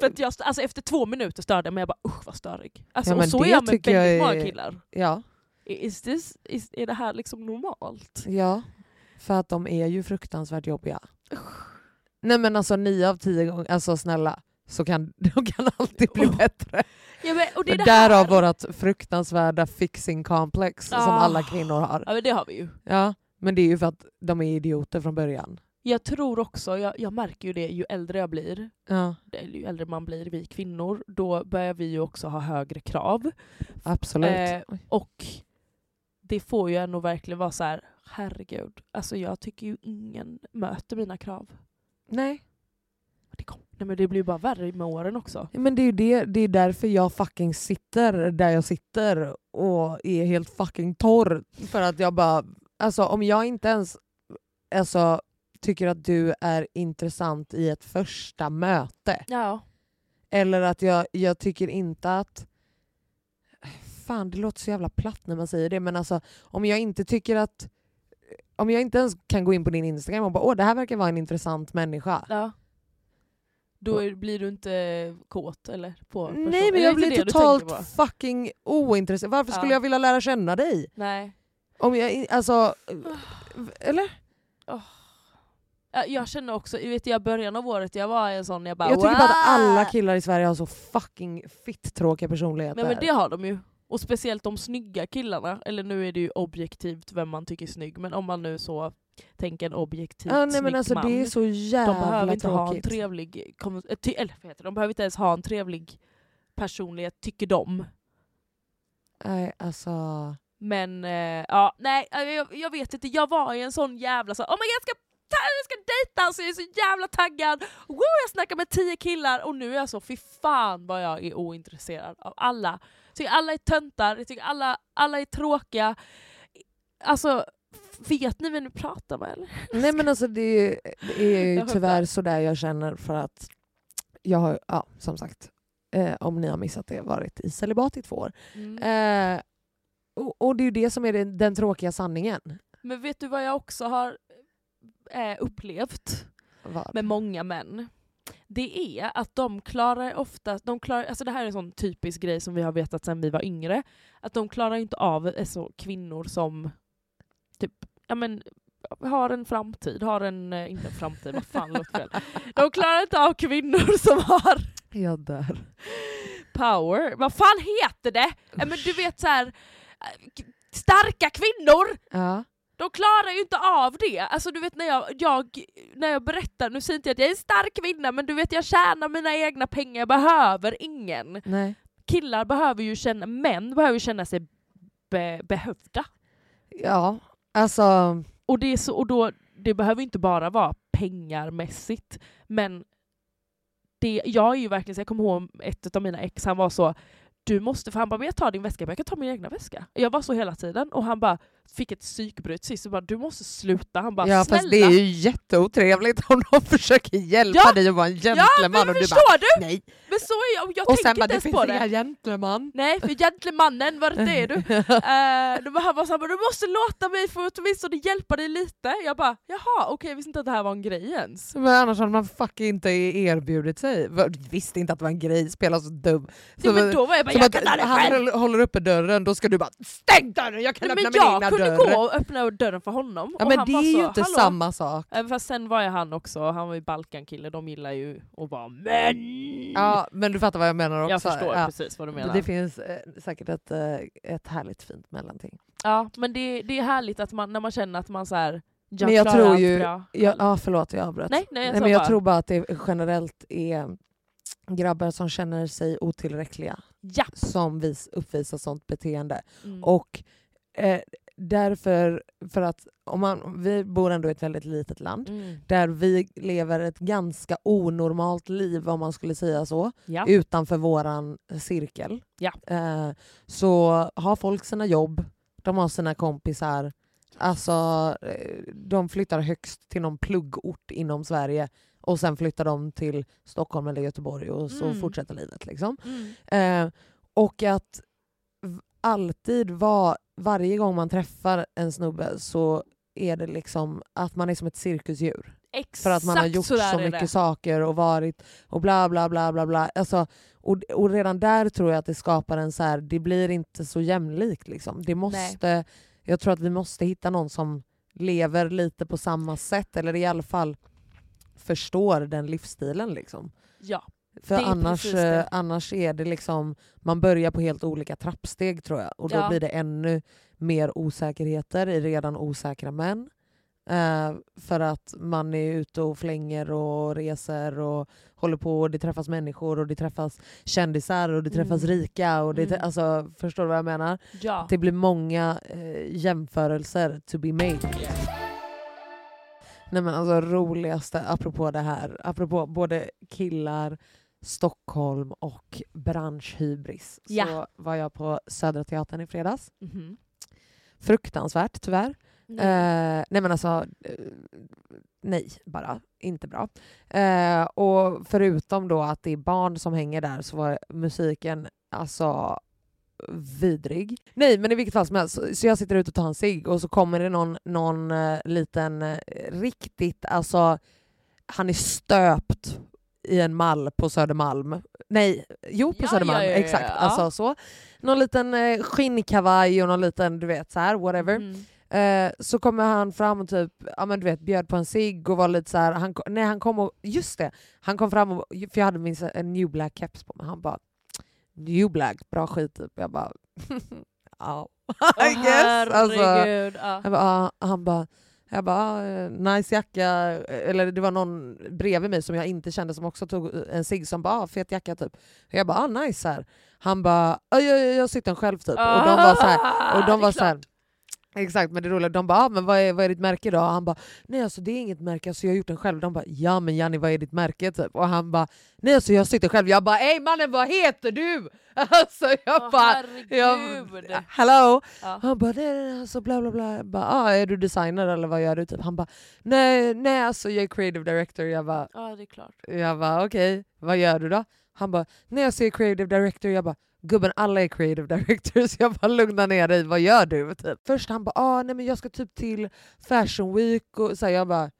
B: för att jag, alltså efter två minuter störde jag mig, jag bara usch vad störig. Alltså,
A: Ja,
B: och
A: men
B: så
A: det
B: är jag med väldigt
A: tycker jag är-
B: många killar.
A: ja,
B: I- Is this, is, är det här liksom normalt?
A: ja. För att de är ju fruktansvärt jobbiga.
B: Usch.
A: Nej men alltså nio av tio gånger, alltså snälla, så kan, de kan alltid bli
B: Åh,
A: bättre.
B: Ja, men, och Oh. det är det här.
A: Därav vårt fruktansvärda fixing-komplex
B: Ah.
A: som alla kvinnor har.
B: Ja, men det har vi ju.
A: Ja, men det är ju för att de är idioter från början.
B: Jag tror också, jag, jag märker ju det ju äldre jag blir,
A: Ja,
B: eller ju äldre man blir, vi kvinnor, då börjar vi ju också ha högre krav.
A: absolut.
B: Eh, Och det får ju en att verkligen vara så här. herregud, alltså jag tycker ju ingen möter mina krav.
A: Nej,
B: Det, kom, nej, men det blir ju bara värre med åren också.
A: men det är ju det, det är därför jag fucking sitter där jag sitter och är helt fucking torr. För att jag bara, alltså om jag inte ens alltså, tycker att du är intressant i ett första möte
B: Ja.
A: Eller att jag, jag tycker inte att... Fan, det låter så jävla platt när man säger det, men alltså om jag inte tycker att... Om jag inte ens kan gå in på din Instagram och bara åh, det här verkar vara en intressant människa.
B: Ja. Då är, blir du inte kåt eller? På personen?
A: Nej men
B: Eller
A: jag
B: är det
A: blir
B: det du tänker
A: totalt
B: på?
A: fucking ointresserad. Varför
B: Ja.
A: skulle jag vilja lära känna dig?
B: Nej.
A: Om jag i- alltså... eh, Eller?
B: Äh, Jag känner också, jag vet jag i början av året jag var en sån, jag bara
A: jag tycker bara att alla
B: "Wow!"
A: killar i Sverige har så fucking fitt tråkiga personligheter.
B: Men, men det har de ju. Och speciellt de snygga killarna. Eller nu är det ju objektivt vem man tycker är snygg, men om man nu så tänker en objektivt
A: ja, nej,
B: snygg
A: men alltså,
B: man.
A: det är så jävla
B: de behöver inte ha en eh,
A: tråkigt.
B: trevlig, konvers- äh, ty- eller vad heter det? de behöver inte ens ha en trevlig personlighet, tycker de.
A: Nej, alltså...
B: Men eh, ja, nej eh, jag, jag vet inte, jag var i en sån jävla så, här, oh my god jag ska, ta- jag ska dejta, alltså, jag är så jävla taggad, Woo, jag snackar med tio killar och nu är jag så, fy fan vad jag är ointresserad av alla. Jag tycker alla är töntar, jag tycker alla, alla är tråkiga. Alltså, vet ni vem ni pratar med eller?
A: Nej men alltså det är ju, det är ju
B: Jag
A: tyvärr
B: fattar.
A: sådär jag känner för att jag har, ja som sagt, eh, om ni har missat det, varit i celibat i två år.
B: Mm.
A: Eh, och, och det är ju det som är den, den tråkiga sanningen.
B: Men vet du vad jag också har eh, upplevt?
A: Vad?
B: med många män, det är att de klarar ofta, de klarar, alltså det här är en sån typisk grej som vi har vetat sedan vi var yngre, att de klarar inte av alltså, kvinnor som typ, ja men har en framtid, har en, eh, inte en framtid, vad fan låter fel. De klarar inte av kvinnor som har
A: jag dör.
B: power, vad fan heter det? Ja, men du vet så här, eh, k- starka kvinnor!
A: Ja.
B: De klarar ju inte av det. Alltså du vet när jag, jag, när jag berättar, nu säger inte jag att jag är en stark kvinna, men du vet jag tjänar mina egna pengar, jag behöver ingen.
A: Nej.
B: Killar behöver ju känna, män behöver ju känna sig be, behövda.
A: Ja, alltså...
B: Och, det, är så, och då, det behöver ju inte bara vara pengarmässigt, men det, jag är ju verkligen så, jag kommer ihåg ett av mina ex, han var så du måste, för han bara, men jag tar din väska, jag, bara, jag kan ta min egna väska. Jag var så hela tiden och han bara fick ett psykbryt sist och bara, du måste sluta. Han bara,
A: ja,
B: snälla.
A: fast det är ju jätteotrevligt om de försöker hjälpa
B: Ja.
A: dig att vara en
B: Ja,
A: gentleman
B: men
A: och du
B: förstår
A: bara
B: du?
A: nej.
B: Men så är jag, och jag
A: Och
B: tänker
A: sen bara
B: inte
A: det
B: ens
A: finns
B: på det.
A: inga gentleman.
B: Nej, för gentlemannen, var det är du? Eh, det var- han var såhär, du måste låta mig få åtminstone hjälpa dig lite. Jag bara, jaha, okej, jag visste inte att det här var en grej ens.
A: Men annars hade man fucking inte erbjudit sig. Va- Visste inte att det var en grej, spela så dum.
B: Ja,
A: Så-
B: men då var jag bara,
A: Som
B: jag
A: att
B: kan ta det
A: han
B: själv.
A: håller- håller uppe dörren, då ska du bara stäng dörren, jag kan
B: Nej,
A: öppna
B: men
A: min egna
B: jag kunde
A: dörr.
B: gå och öppna dörren för honom.
A: ja,
B: och
A: men
B: han
A: det
B: var
A: är ju
B: så,
A: inte
B: "Hallå?"
A: samma sak.
B: Även fast sen var ju han också, han var ju Balkankille, de gillar ju att vara män.
A: Ja, men du fattar vad jag menar också.
B: jag förstår
A: ja.
B: precis vad du menar.
A: Det finns eh, säkert ett, eh, ett härligt fint mellanting.
B: ja, men det, det är härligt att man, när man känner att man såhär, jag
A: Men jag
B: klarar
A: tror
B: allt
A: ju-
B: bra.
A: Ja, ja, förlåt jag avbröt.
B: Nej, nej, jag,
A: Nej,
B: sa
A: men jag
B: bara,
A: tror bara att det generellt är grabbar som känner sig otillräckliga
B: ja.
A: som vis, uppvisar sånt beteende.
B: Mm.
A: Och eh, därför, för att om man, vi bor ändå i ett väldigt litet land
B: Mm.
A: där vi lever ett ganska onormalt liv om man skulle säga så,
B: Ja.
A: utanför våran eh, cirkel.
B: Ja.
A: Eh, så har folk sina jobb, de har sina kompisar, alltså eh, de flyttar högst till någon pluggort inom Sverige och sen flyttar de till Stockholm eller Göteborg och så
B: Mm.
A: fortsätter livet. Liksom.
B: Mm.
A: Eh, och att v- alltid var, varje gång man träffar en snubbe så är det liksom att man är som ett cirkusdjur.
B: Exakt
A: För att man har gjort så,
B: där är
A: mycket
B: det.
A: saker och varit och bla bla bla bla bla. Alltså, och, och redan där tror jag att det skapar en så här, det blir inte så jämlikt liksom. Det måste, jag tror att vi måste hitta någon som lever lite på samma sätt eller i alla fall förstår den livsstilen liksom.
B: Ja.
A: För
B: Det är
A: annars,
B: precis det.
A: eh, annars är det liksom, man börjar på helt olika trappsteg tror jag. Och då
B: Ja.
A: blir det ännu mer osäkerheter i redan osäkra män. Eh, för att man är ute och flänger och reser och håller på och det träffas människor och det träffas kändisar och det träffas
B: Mm.
A: rika. Och det,
B: Mm.
A: alltså, förstår du vad jag menar?
B: ja.
A: Det blir många eh, jämförelser to be made. Nej men alltså roligaste, apropå det här, apropå både killar, Stockholm och branschhybris, så
B: Ja.
A: var jag på Södra Teatern i fredags.
B: Mhm.
A: Fruktansvärt tyvärr.
B: Nej.
A: Eh, nej men alltså, eh, nej bara. Inte bra. Eh, och förutom då att det är barn som hänger där så var musiken alltså vidrig. Nej men i vilket fall som helst, så- så jag sitter ute och tar en cigg och så kommer det någon, någon eh, liten eh, riktigt, alltså han är stöpt i en mall på Södermalm. Nej, jo på
B: Ja,
A: Södermalm,
B: ja, ja, ja,
A: exakt.
B: ja.
A: Alltså så. Någon liten eh, skinnkavaj och någon liten du vet så här, whatever.
B: Mhm.
A: Eh, så kommer han fram och typ, ja men du vet, bjöd på en cigg och var lite så här, han, ko- nej han kom och, just det, han kom fram och, för jag hade min så- en new black keps på mig, han bara new black, bra skit typ. Jag bara ja,
B: Åh,
A: I guess. Alltså,
B: herregud. Ja.
A: han bara, ah, han bara Jag bara, eh, nice jacka. Eller det var någon bredvid mig som jag inte kände som också tog en cigg som bara, ah, fet jacka typ. Jag bara, ah, nice här. Han bara, "Ja, jag, jag, jag syftar själv typ. Och de var så här, och
B: Det är
A: de var
B: klart.
A: så här, Exakt, men det roliga, de bara ah, men vad är, vad är ditt märke då? Och han bara nej alltså det är inget märke, alltså, jag har gjort den själv. De bara ja men Janni vad är ditt märke? Typ. Och han bara nej alltså jag har sytt den själv. Jag bara ey mannen vad heter du? Alltså jag
B: Åh,
A: bara jag,
B: herregud.
A: hello!
B: Ja.
A: Han bara nej nej nej, alltså bla bla bla. Jag bara, ah, är du designer eller vad gör du? Typ. Han bara nej nej alltså jag är creative director. Jag bara
B: Ja, det är klart.
A: jag bara okej, vad gör du då? Han bara, när jag säger creative director, jag bara gubben alla är creative directors, jag bara lugna ner dig, vad gör du? Typ. Först han bara, ah, nej men jag ska typ till fashion week och så här, jag bara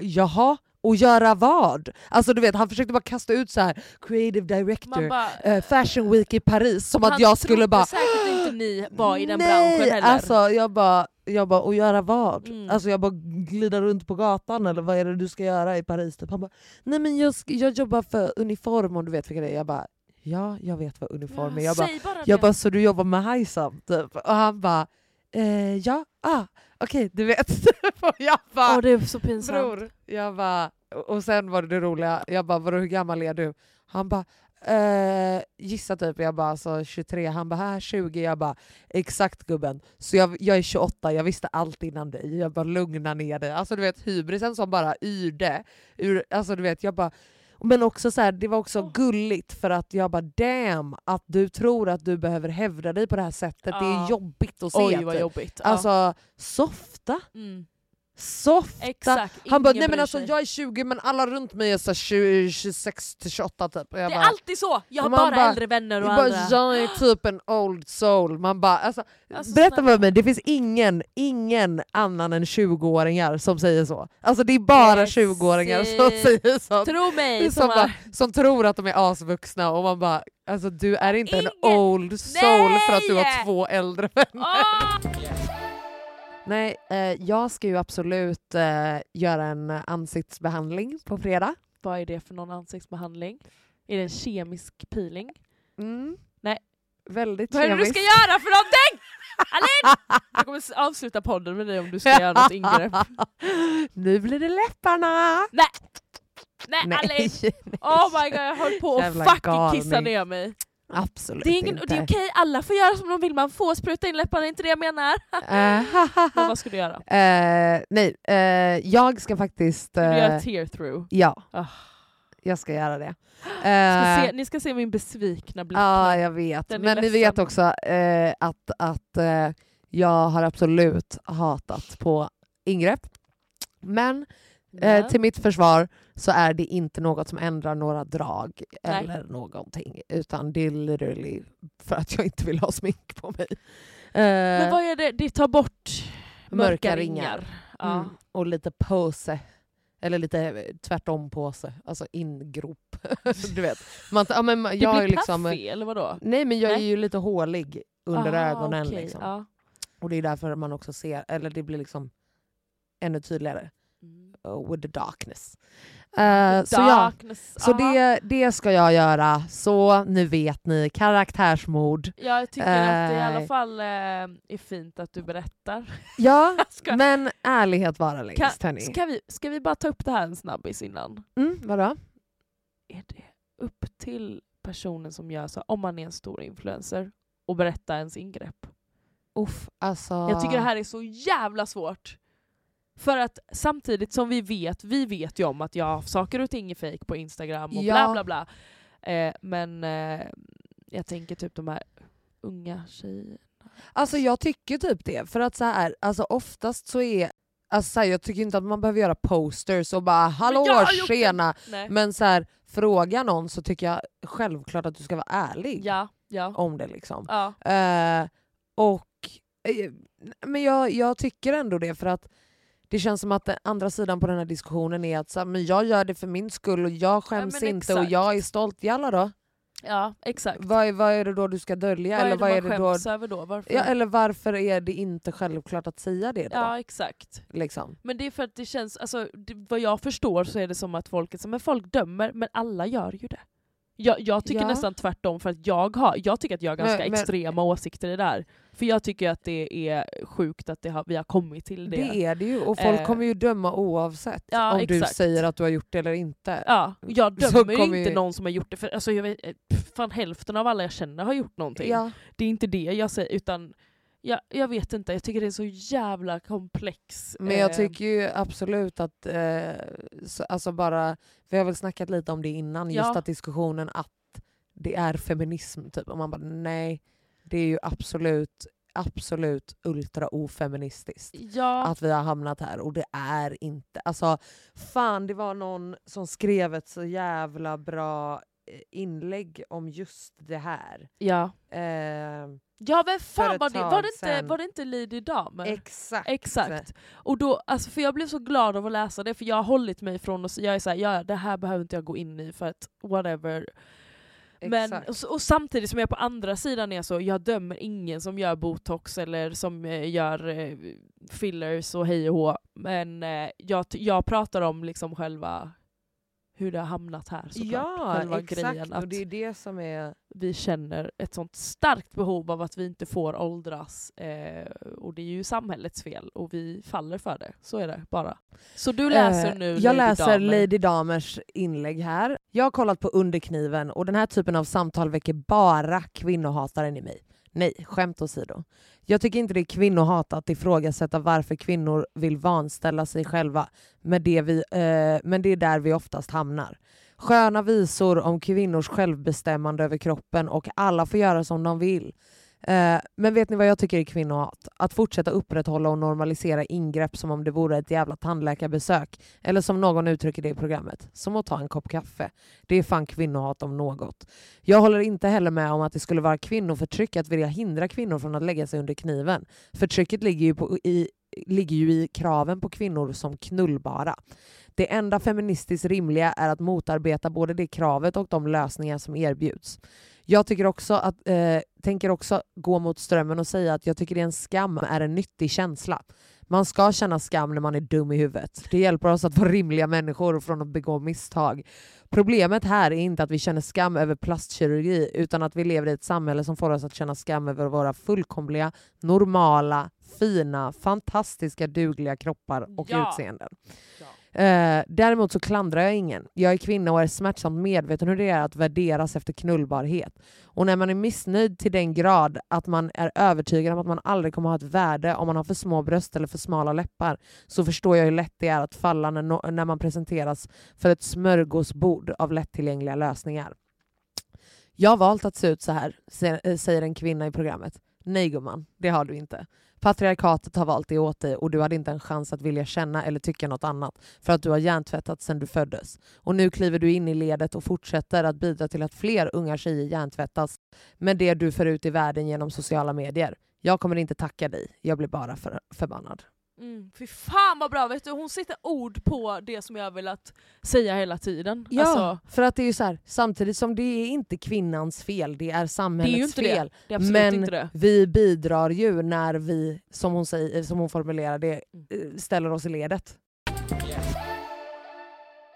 A: jaha, och göra vad? Alltså du vet, han försökte bara kasta ut så här creative director,
B: Man bara,
A: eh, fashion week i Paris, som att
B: han
A: jag skulle
B: trodde
A: bara
B: säkert inte ni var i den
A: Nej,
B: branschen heller.
A: Alltså, jag bara, jag bara, och göra vad?
B: Mm.
A: Alltså jag bara glida runt på gatan eller vad är det du ska göra i Paris? Typ. Han bara, nej men jag, sk- jag jobbar för uniform om du vet vilka det är. Jag bara, ja jag vet vad uniform är.
B: Ja,
A: Jag bara,
B: säg bara
A: jag
B: det.
A: bara så du jobbar med Hajsam? Typ. Och han bara, eh, ja, ah, okej du vet. och jag bara,
B: Åh, det är så pinsamt.
A: bror. Jag bara, och och sen var det det roliga, jag bara vadå hur gammal är du? Han bara eh, gissa typ, jag bara alltså 23, han bara här 20, jag bara exakt gubben. Så jag, jag är 28, jag visste allt innan dig. Jag bara lugna ner dig. Alltså du vet hybrisen som bara yrde. Ur, alltså du vet jag bara men också så här, det var också gulligt för att jag bara damn att du tror att du behöver hävda dig på det här sättet. Det
B: Ja.
A: är jobbigt att se.
B: Oj vad
A: typ.
B: jobbigt. ja.
A: Alltså softa,
B: mm.
A: softa.
B: Exakt,
A: Han bara,
B: ingen
A: nej men
B: bryr
A: alltså
B: sig.
A: jag är 20 men alla runt mig är så här 20, 26 till 28 typ. Och jag
B: Det är
A: bara,
B: alltid så! Jag har
A: Och man
B: bara,
A: bara-
B: äldre vänner
A: jag,
B: och
A: bara,
B: andra.
A: jag är typ en old soul. Man bara, alltså,
B: Alltså,
A: berätta
B: snälla.
A: för mig, det finns ingen, ingen annan än 20-åringar som säger så. Alltså det är bara 20-åringar som
B: Precis.
A: säger så.
B: Tro mig!
A: Som,
B: Som
A: bara,
B: har-
A: som tror att de är asvuxna och man bara, alltså du är inte en
B: Ingen-
A: old soul för att du har
B: Nej!
A: två äldre vänner.
B: Åh!
A: Nej, eh, jag ska ju absolut eh, göra en ansiktsbehandling på fredag.
B: Vad är det för någon ansiktsbehandling? Är det en kemisk peeling?
A: Mm.
B: Nej.
A: Väldigt
B: Vad är det du
A: kemiskt.
B: ska göra för någonting? Alin! Jag kommer s- avsluta podden med dig om du ska göra något ingrepp.
A: nu blir det läpparna!
B: Nej, Alin!
A: Nej,
B: Oh my god jag höll på att
A: Jävla
B: fucking kissa
A: galning.
B: ner mig.
A: absolut
B: Det är, ingen,
A: inte.
B: och det är okej, alla får göra som de vill, man får spruta in läpparna, det är inte det jag menar.
A: Eh, ha, ha,
B: Men
A: ha.
B: vad ska du göra?
A: Eh, nej, eh, jag ska faktiskt...
B: Ska du göra
A: Eh,
B: tear through?
A: ja,
B: Ah.
A: jag ska göra det.
B: Ska
A: Eh,
B: se, ni ska se min besvikna blick.
A: Ja, eh, jag vet.
B: Den är
A: Men ni vet
B: ledsen.
A: också eh, att, att eh, jag har absolut hatat på ingrepp. Men
B: Men-
A: eh, till mitt försvar så är det inte något som ändrar några drag
B: Nej.
A: eller någonting. Utan det är literally för att jag inte vill ha smink på mig. Eh,
B: Men vad är det? Det tar bort mörka, ringar. Ja.
A: Mm. Och lite pose. Eller lite eh, tvärtom pose. Alltså ingrop. du vet. Man, ja, men,
B: Det
A: jag har ju
B: blir
A: liksom,
B: paffig, eller vadå?
A: Nej men jag är
B: Nej.
A: ju lite hålig under
B: Aha,
A: ögonen.
B: okej,
A: Liksom.
B: ja.
A: Och det är därför man också ser, eller det blir liksom ännu tydligare.
B: Mm.
A: uh, with the darkness. Eh, så ja,
B: Darkness.
A: så
B: aha.
A: det, det ska jag göra. Så nu vet ni, karaktärsmord.
B: Jag tycker att det i alla
A: Eh.
B: fall eh, är fint att du berättar.
A: Ja,
B: Jag skojar.
A: men ärlighet vara
B: Kan,
A: längst hörni.
B: ska, vi, ska vi bara ta upp det här en snabbis innan?
A: Mm, vadå?
B: Är det upp till personen som gör så, om man är en stor influencer, och berätta ens ingrepp?
A: Uff, alltså.
B: Jag tycker det här är så jävla svårt. För att samtidigt som vi vet, vi vet ju om att jag har saker och ting är fake på Instagram och
A: Ja.
B: bla bla bla. Eh, men eh, jag tänker typ de här unga tjejerna.
A: Alltså jag tycker typ det. För att så här, alltså oftast så är Alltså så här, jag tycker inte att man behöver göra posters och bara hallå
B: jag har gjort det."
A: tjena
B: Nej.
A: Men så här, fråga någon så tycker jag självklart att du ska vara ärlig
B: Ja, ja.
A: om det. liksom.
B: ja.
A: Eh, och, eh, men jag, jag tycker ändå det för att det känns som att den andra sidan på den här diskussionen är att så här, men jag gör det för min skull och jag skäms
B: men
A: inte och jag är stolt. Jalla då.
B: Ja, exakt.
A: Vad är, vad är det då du ska dölja?
B: vad är
A: eller,
B: det
A: vad är
B: man
A: det då,
B: skäms över då? Varför?
A: ja, eller varför är det inte självklart att säga det då?
B: ja, exakt.
A: Liksom.
B: Men det är för att det känns, alltså, det, vad jag förstår så är det som att folket, men folk dömer, men alla gör ju det. Jag, jag tycker
A: Ja.
B: nästan tvärtom för att jag har, jag tycker att jag har ganska
A: Men- men-
B: extrema åsikter i det där. För jag tycker att det är sjukt att det har, vi har kommit till det.
A: Det är det ju och folk
B: Eh.
A: kommer ju döma oavsett
B: Ja,
A: om du
B: exakt.
A: säger att du har gjort det eller inte.
B: Ja, och jag
A: Så
B: dömer ju
A: kommer ju-
B: inte någon som har gjort det, för alltså, jag vet, pff, fan hälften av alla jag känner har gjort någonting.
A: Ja.
B: Det är inte det jag säger, utan jag, jag vet inte, jag tycker det är så jävla komplex.
A: Men jag
B: eh,
A: tycker ju absolut att, eh, så, alltså bara, vi har väl snackat lite om det innan, just
B: Ja.
A: att diskussionen att det är feminism typ, och man bara nej, det är ju absolut, absolut ultra ofeministiskt.
B: Ja,
A: att vi har hamnat här och det är inte... Alltså, fan, det var någon som skrev ett så jävla bra eh, inlägg om just det här.
B: ja.
A: Eh,
B: ja men
A: För
B: fan
A: ett
B: var det,
A: tag
B: var det inte,
A: sen.
B: var det inte Lady Damer?
A: exakt.
B: Exakt. Och då, alltså, för jag blev så glad av att läsa det, för jag har hållit mig från att, jag är såhär, ja det här behöver inte jag gå in i för att whatever. Men,
A: exakt.
B: och, s- och samtidigt som jag på andra sidan är så, jag dömer ingen som gör botox eller som eh, gör eh, fillers och hej och hå. Men eh, jag, t- jag pratar om liksom själva hur det har hamnat här såklart.
A: ja,
B: själva
A: exakt.
B: grejen att
A: Och det är det som är...
B: vi känner ett sånt starkt behov av att vi inte får åldras. Eh, och det är ju samhällets fel och vi faller för det. Så är det bara. Så du läser
A: Eh,
B: nu
A: Jag
B: Lady
A: läser
B: Damer.
A: Lady Damers inlägg här. Jag har kollat på Underkniven och den här typen av samtal väcker bara kvinnohataren i mig. Nej, skämt åsido. Jag tycker inte det är kvinnohat att ifrågasätta varför kvinnor vill vanställa sig själva, men det, vi, eh, men det är där vi oftast hamnar. Sköna visor om kvinnors självbestämmande över kroppen och alla får göra som de vill. Eh, Men vet ni vad jag tycker är kvinnohat? Att fortsätta upprätthålla och normalisera ingrepp som om det vore ett jävla tandläkarbesök. Eller som någon uttrycker det i programmet, som att ta en kopp kaffe. Det är fan kvinnohat om något. Jag håller inte heller med om att det skulle vara kvinnoförtryck att vilja hindra kvinnor från att lägga sig under kniven. Förtrycket ligger ju, på, i, ligger ju i kraven på kvinnor som knullbara. Det enda feministiskt rimliga är att motarbeta både det kravet och de lösningar som erbjuds. Jag tycker också att, eh, tänker också gå mot strömmen och säga att jag tycker det är en skam är en nyttig känsla. Man ska känna skam när man är dum i huvudet. Det hjälper oss att vara rimliga människor från att begå misstag. Problemet här är inte att vi känner skam över plastkirurgi utan att vi lever i ett samhälle som får oss att känna skam över våra fullkomliga, normala, fina, fantastiska, dugliga kroppar och
B: Ja.
A: utseenden.
B: Ja.
A: Eh, däremot så klandrar jag ingen. Jag är kvinna och är smärtsamt medveten hur det är att värderas efter knullbarhet. Och när man är missnöjd till den grad att man är övertygad om att man aldrig kommer ha ett värde om man har för små bröst eller för smala läppar så förstår jag hur lätt det är att falla när, no- när man presenteras för ett smörgåsbord av lättillgängliga lösningar. Jag har valt att se ut så här, se- eh, säger en kvinna i programmet. Nej gumman, det har du inte. Patriarkatet har valt det åt dig och du hade inte en chans att vilja känna eller tycka något annat för att du har hjärntvättat sedan du föddes. Och nu kliver du in i ledet och fortsätter att bidra till att fler unga tjejer hjärntvättas med det du för ut i världen genom sociala medier. Jag kommer inte tacka dig, jag blir bara för, förbannad.
B: Mm, fy fan vad bra, vet du? hon sätter ord på det som jag har velat säga hela tiden.
A: Ja,
B: Alltså,
A: för att det är ju så här, samtidigt som det är inte kvinnans fel, det är samhällets
B: Det är ju inte det.
A: fel.
B: det är absolut
A: Men-
B: inte det.
A: Vi bidrar ju när vi, som hon, säger, som hon formulerar det,
B: Mm.
A: eh, ställer oss i ledet.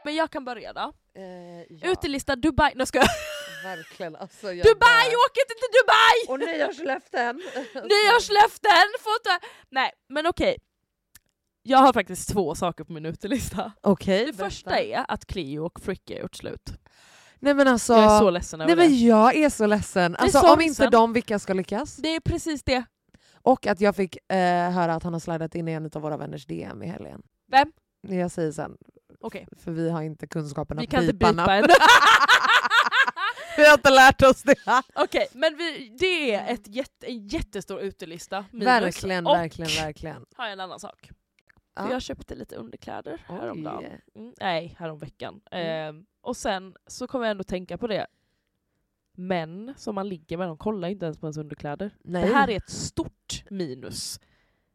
B: Men jag kan börja då.
A: Eh, ja,
B: Utelista Dubai, nu ska jag.
A: verkligen. Alltså,
B: Dubai, åker inte till Dubai!
A: Och nyårslöften! Alltså,
B: Nyårslöften! Får inte... Nej, men okej. Jag har faktiskt två saker på min utelista.
A: Okej,
B: Det
A: berätta.
B: första är att Cleo och Fricky har gjort slut.
A: Nej men alltså...
B: Jag är så ledsen
A: Nej
B: över
A: men
B: det.
A: jag är så ledsen. Alltså
B: så
A: om inte
B: ledsen.
A: de, vilka ska lyckas?
B: Det är precis det.
A: Och att jag fick eh, höra att han har slidat in i en av våra vänners DM i helgen.
B: Vem?
A: Jag säger sen,
B: Okej,
A: för vi har inte kunskapen
B: vi
A: att
B: kan inte
A: bipa
B: bipa
A: namn.
B: en.
A: Vi har inte lärt oss det.
B: Okej, men vi, det är ett jätte, en jättestor utelista. minus.
A: Mm. Verkligen,
B: och
A: verkligen, verkligen.
B: har jag en annan sak.
A: Ja.
B: För jag köpte lite underkläder
A: Oj. Mm.
B: häromdagen. Mm, nej, häromveckan. Ehm, och sen så kommer jag ändå tänka på det. Män som man ligger med, de kollar inte ens på ens underkläder.
A: Nej.
B: Det här är ett stort minus.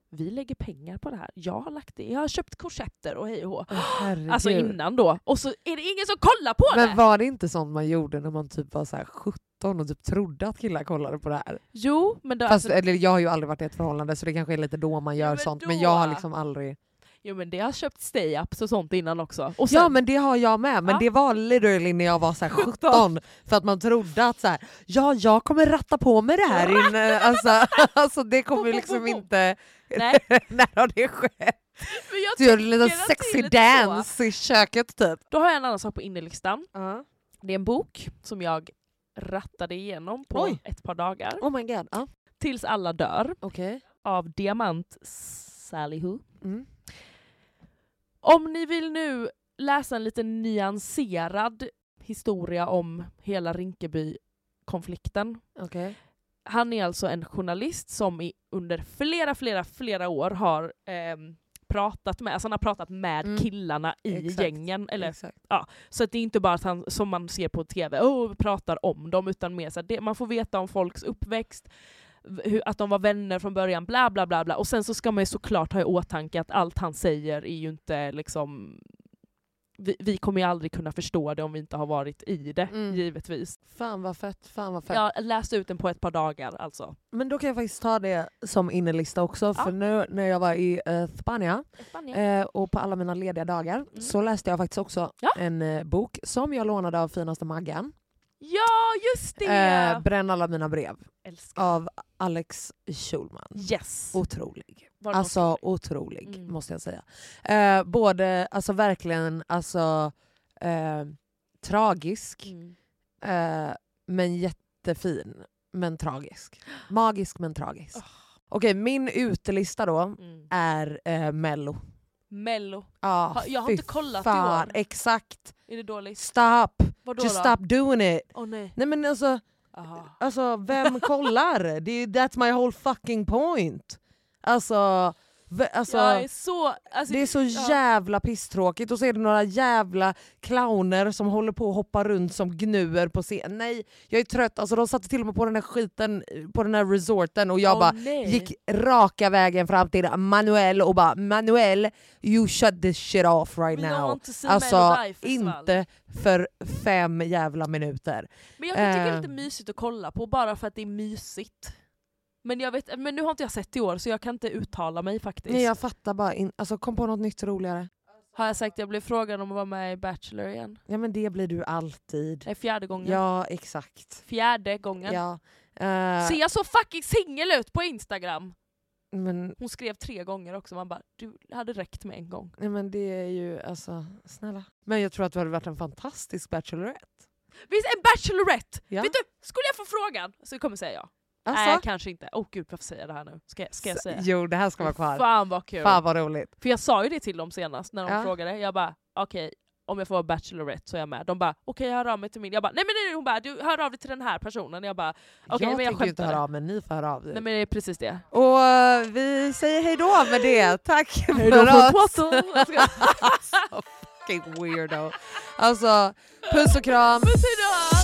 B: Vi lägger pengar på det här. Jag har, lagt det. Jag har köpt korsetter och hej och hå.
A: Herregud.
B: Alltså innan då. Och så är det ingen som kollar på det!
A: Men var det inte sånt man gjorde när man typ var så här 17 och typ trodde att killar kollade på det här?
B: Jo, men då,
A: Fast, eh,
B: alltså,
A: eller jag har ju aldrig varit i ett förhållande så det kanske är lite då man
B: Ja,
A: gör
B: men
A: sånt
B: då.
A: men jag har liksom aldrig...
B: Jo men det har köpt stay-ups och sånt innan också. Och sen,
A: Ja men det har jag med, men
B: Ja.
A: det var literally när jag var så här 17 för att man trodde att så här, ja jag kommer ratta på med det här inne. Alltså, alltså det kommer
B: Boom, boom,
A: liksom
B: boom.
A: inte,
B: nej,
A: när har det skett?
B: men jag
A: Du gör en liten
B: tycker att det är
A: sexy
B: lite så.
A: dance i köket typ.
B: Då har jag en annan sak på innerlistan. Det är en bok som jag rattade igenom på
A: Oj.
B: ett par dagar.
A: Oh my god. Ja.
B: Tills alla dör
A: Okej.
B: av Diamant Salihu.
A: Mm.
B: Om ni vill nu läsa en lite nyanserad historia om hela Rinkeby-konflikten.
A: Okej.
B: Han är alltså en journalist som i, under flera, flera, flera år har ehm, pratat med, alltså han har pratat med
A: Mm.
B: killarna i
A: Exakt.
B: gängen. Eller,
A: Exakt.
B: så att det är inte bara att han, som man ser på tv, oh, pratar om dem, utan mer så här, det, man får veta om folks uppväxt, v- hur, att de var vänner från början, bla bla bla. bla. Och sen så ska man ju såklart ha i åtanke att allt han säger är ju inte liksom vi, vi kommer ju aldrig kunna förstå det om vi inte har varit i det,
A: Mm.
B: givetvis.
A: Fan vad fett, fan vad fett.
B: Jag läste ut den på ett par dagar alltså.
A: Men då kan jag faktiskt ta det som innerlista också,
B: Ja.
A: för nu när jag var i eh, Spanien
B: Spanien.
A: Eh, och på alla mina lediga dagar så läste jag faktiskt också
B: Mm. Ja.
A: en eh, bok som jag lånade av finaste Maggan.
B: Ja, just det!
A: Eh, Bränn alla mina brev
B: Älskar.
A: av Alex Schulman.
B: Yes!
A: Otrolig.
B: Var det något
A: Alltså otrolig
B: Mm.
A: måste jag säga. Eh, både, alltså verkligen, alltså eh, tragisk
B: som- Mm.
A: eh, men jättefin. Men tragisk. Magisk men tragisk.
B: Ah.
A: Okej, min utelista då
B: Mm.
A: är eh, Mello.
B: Mello.
A: Ah,
B: Ha- jag har inte
A: fy
B: kollat i
A: fan.
B: år.
A: Exakt.
B: Är det dåligt?
A: Stop!
B: Vadå
A: Just
B: då?
A: stop doing it!
B: Åh nej.
A: Nej men alltså,
B: Aha.
A: alltså vem kollar? Det är, that's my whole fucking point. Alltså, v- alltså
B: jag är så... Alltså,
A: det är så
B: ja.
A: jävla pisstråkigt och så är det några jävla clowner som håller på och hoppar runt som gnuer på scen. Nej, jag är trött. Alltså de satte till och med på den här skiten, på den här resorten och jag
B: Åh,
A: bara
B: nej.
A: gick raka vägen fram till Manuel och bara Manuel, you shut this shit off right
B: We don't
A: now.
B: want to see Mello
A: Alltså
B: die, festival.
A: inte för fem jävla minuter.
B: Men jag kan tycka det är lite
A: eh.
B: mysigt att kolla på bara för att det är mysigt. Men, jag vet, men nu har inte jag sett i år så jag kan inte uttala mig faktiskt.
A: Nej jag fattar bara in, alltså kom på något nytt roligare.
B: Har jag sagt att jag blev frågan om att vara med i Bachelor igen?
A: Ja men det blir du alltid.
B: Nej, fjärde gången.
A: Ja exakt.
B: Fjärde gången.
A: Ja. Eh,
B: Ser jag så fucking singel ut på Instagram?
A: men
B: Hon skrev tre gånger också, man bara du hade räckt med en gång.
A: Nej men det är ju, alltså snälla. Men jag tror att du hade varit en fantastisk bachelorette.
B: Visst, en bachelorette!
A: Ja.
B: Vet du, skulle jag få frågan så kommer jag säga ja.
A: Alltså,
B: Nej kanske inte, åh gud varför säger jag det här nu? Ska jag, ska jag
A: s-
B: säga?
A: Jo det här ska vara kvar. Fan,
B: Fan vad kul!
A: vad roligt.
B: För jag sa ju det till dem senast när de
A: Ja.
B: frågade, jag bara okej om jag får vara bachelorette så är jag med. De bara okej jag hör av mig till min, jag bara nej men nej, nej, hon bara du hör av dig till den här personen. Jag bara okej
A: jag
B: men jag
A: tänker ju inte höra
B: skämtade.
A: av mig, ni får höra av er.
B: Nej men det är precis det.
A: Och eh, vi säger hejdå med det. Tack
B: Hej då
A: för
B: på
A: oss.
B: Twitter. Jag skojar.
A: Så fucking weirdo. Alltså puss och kram.
B: Puss hejdå!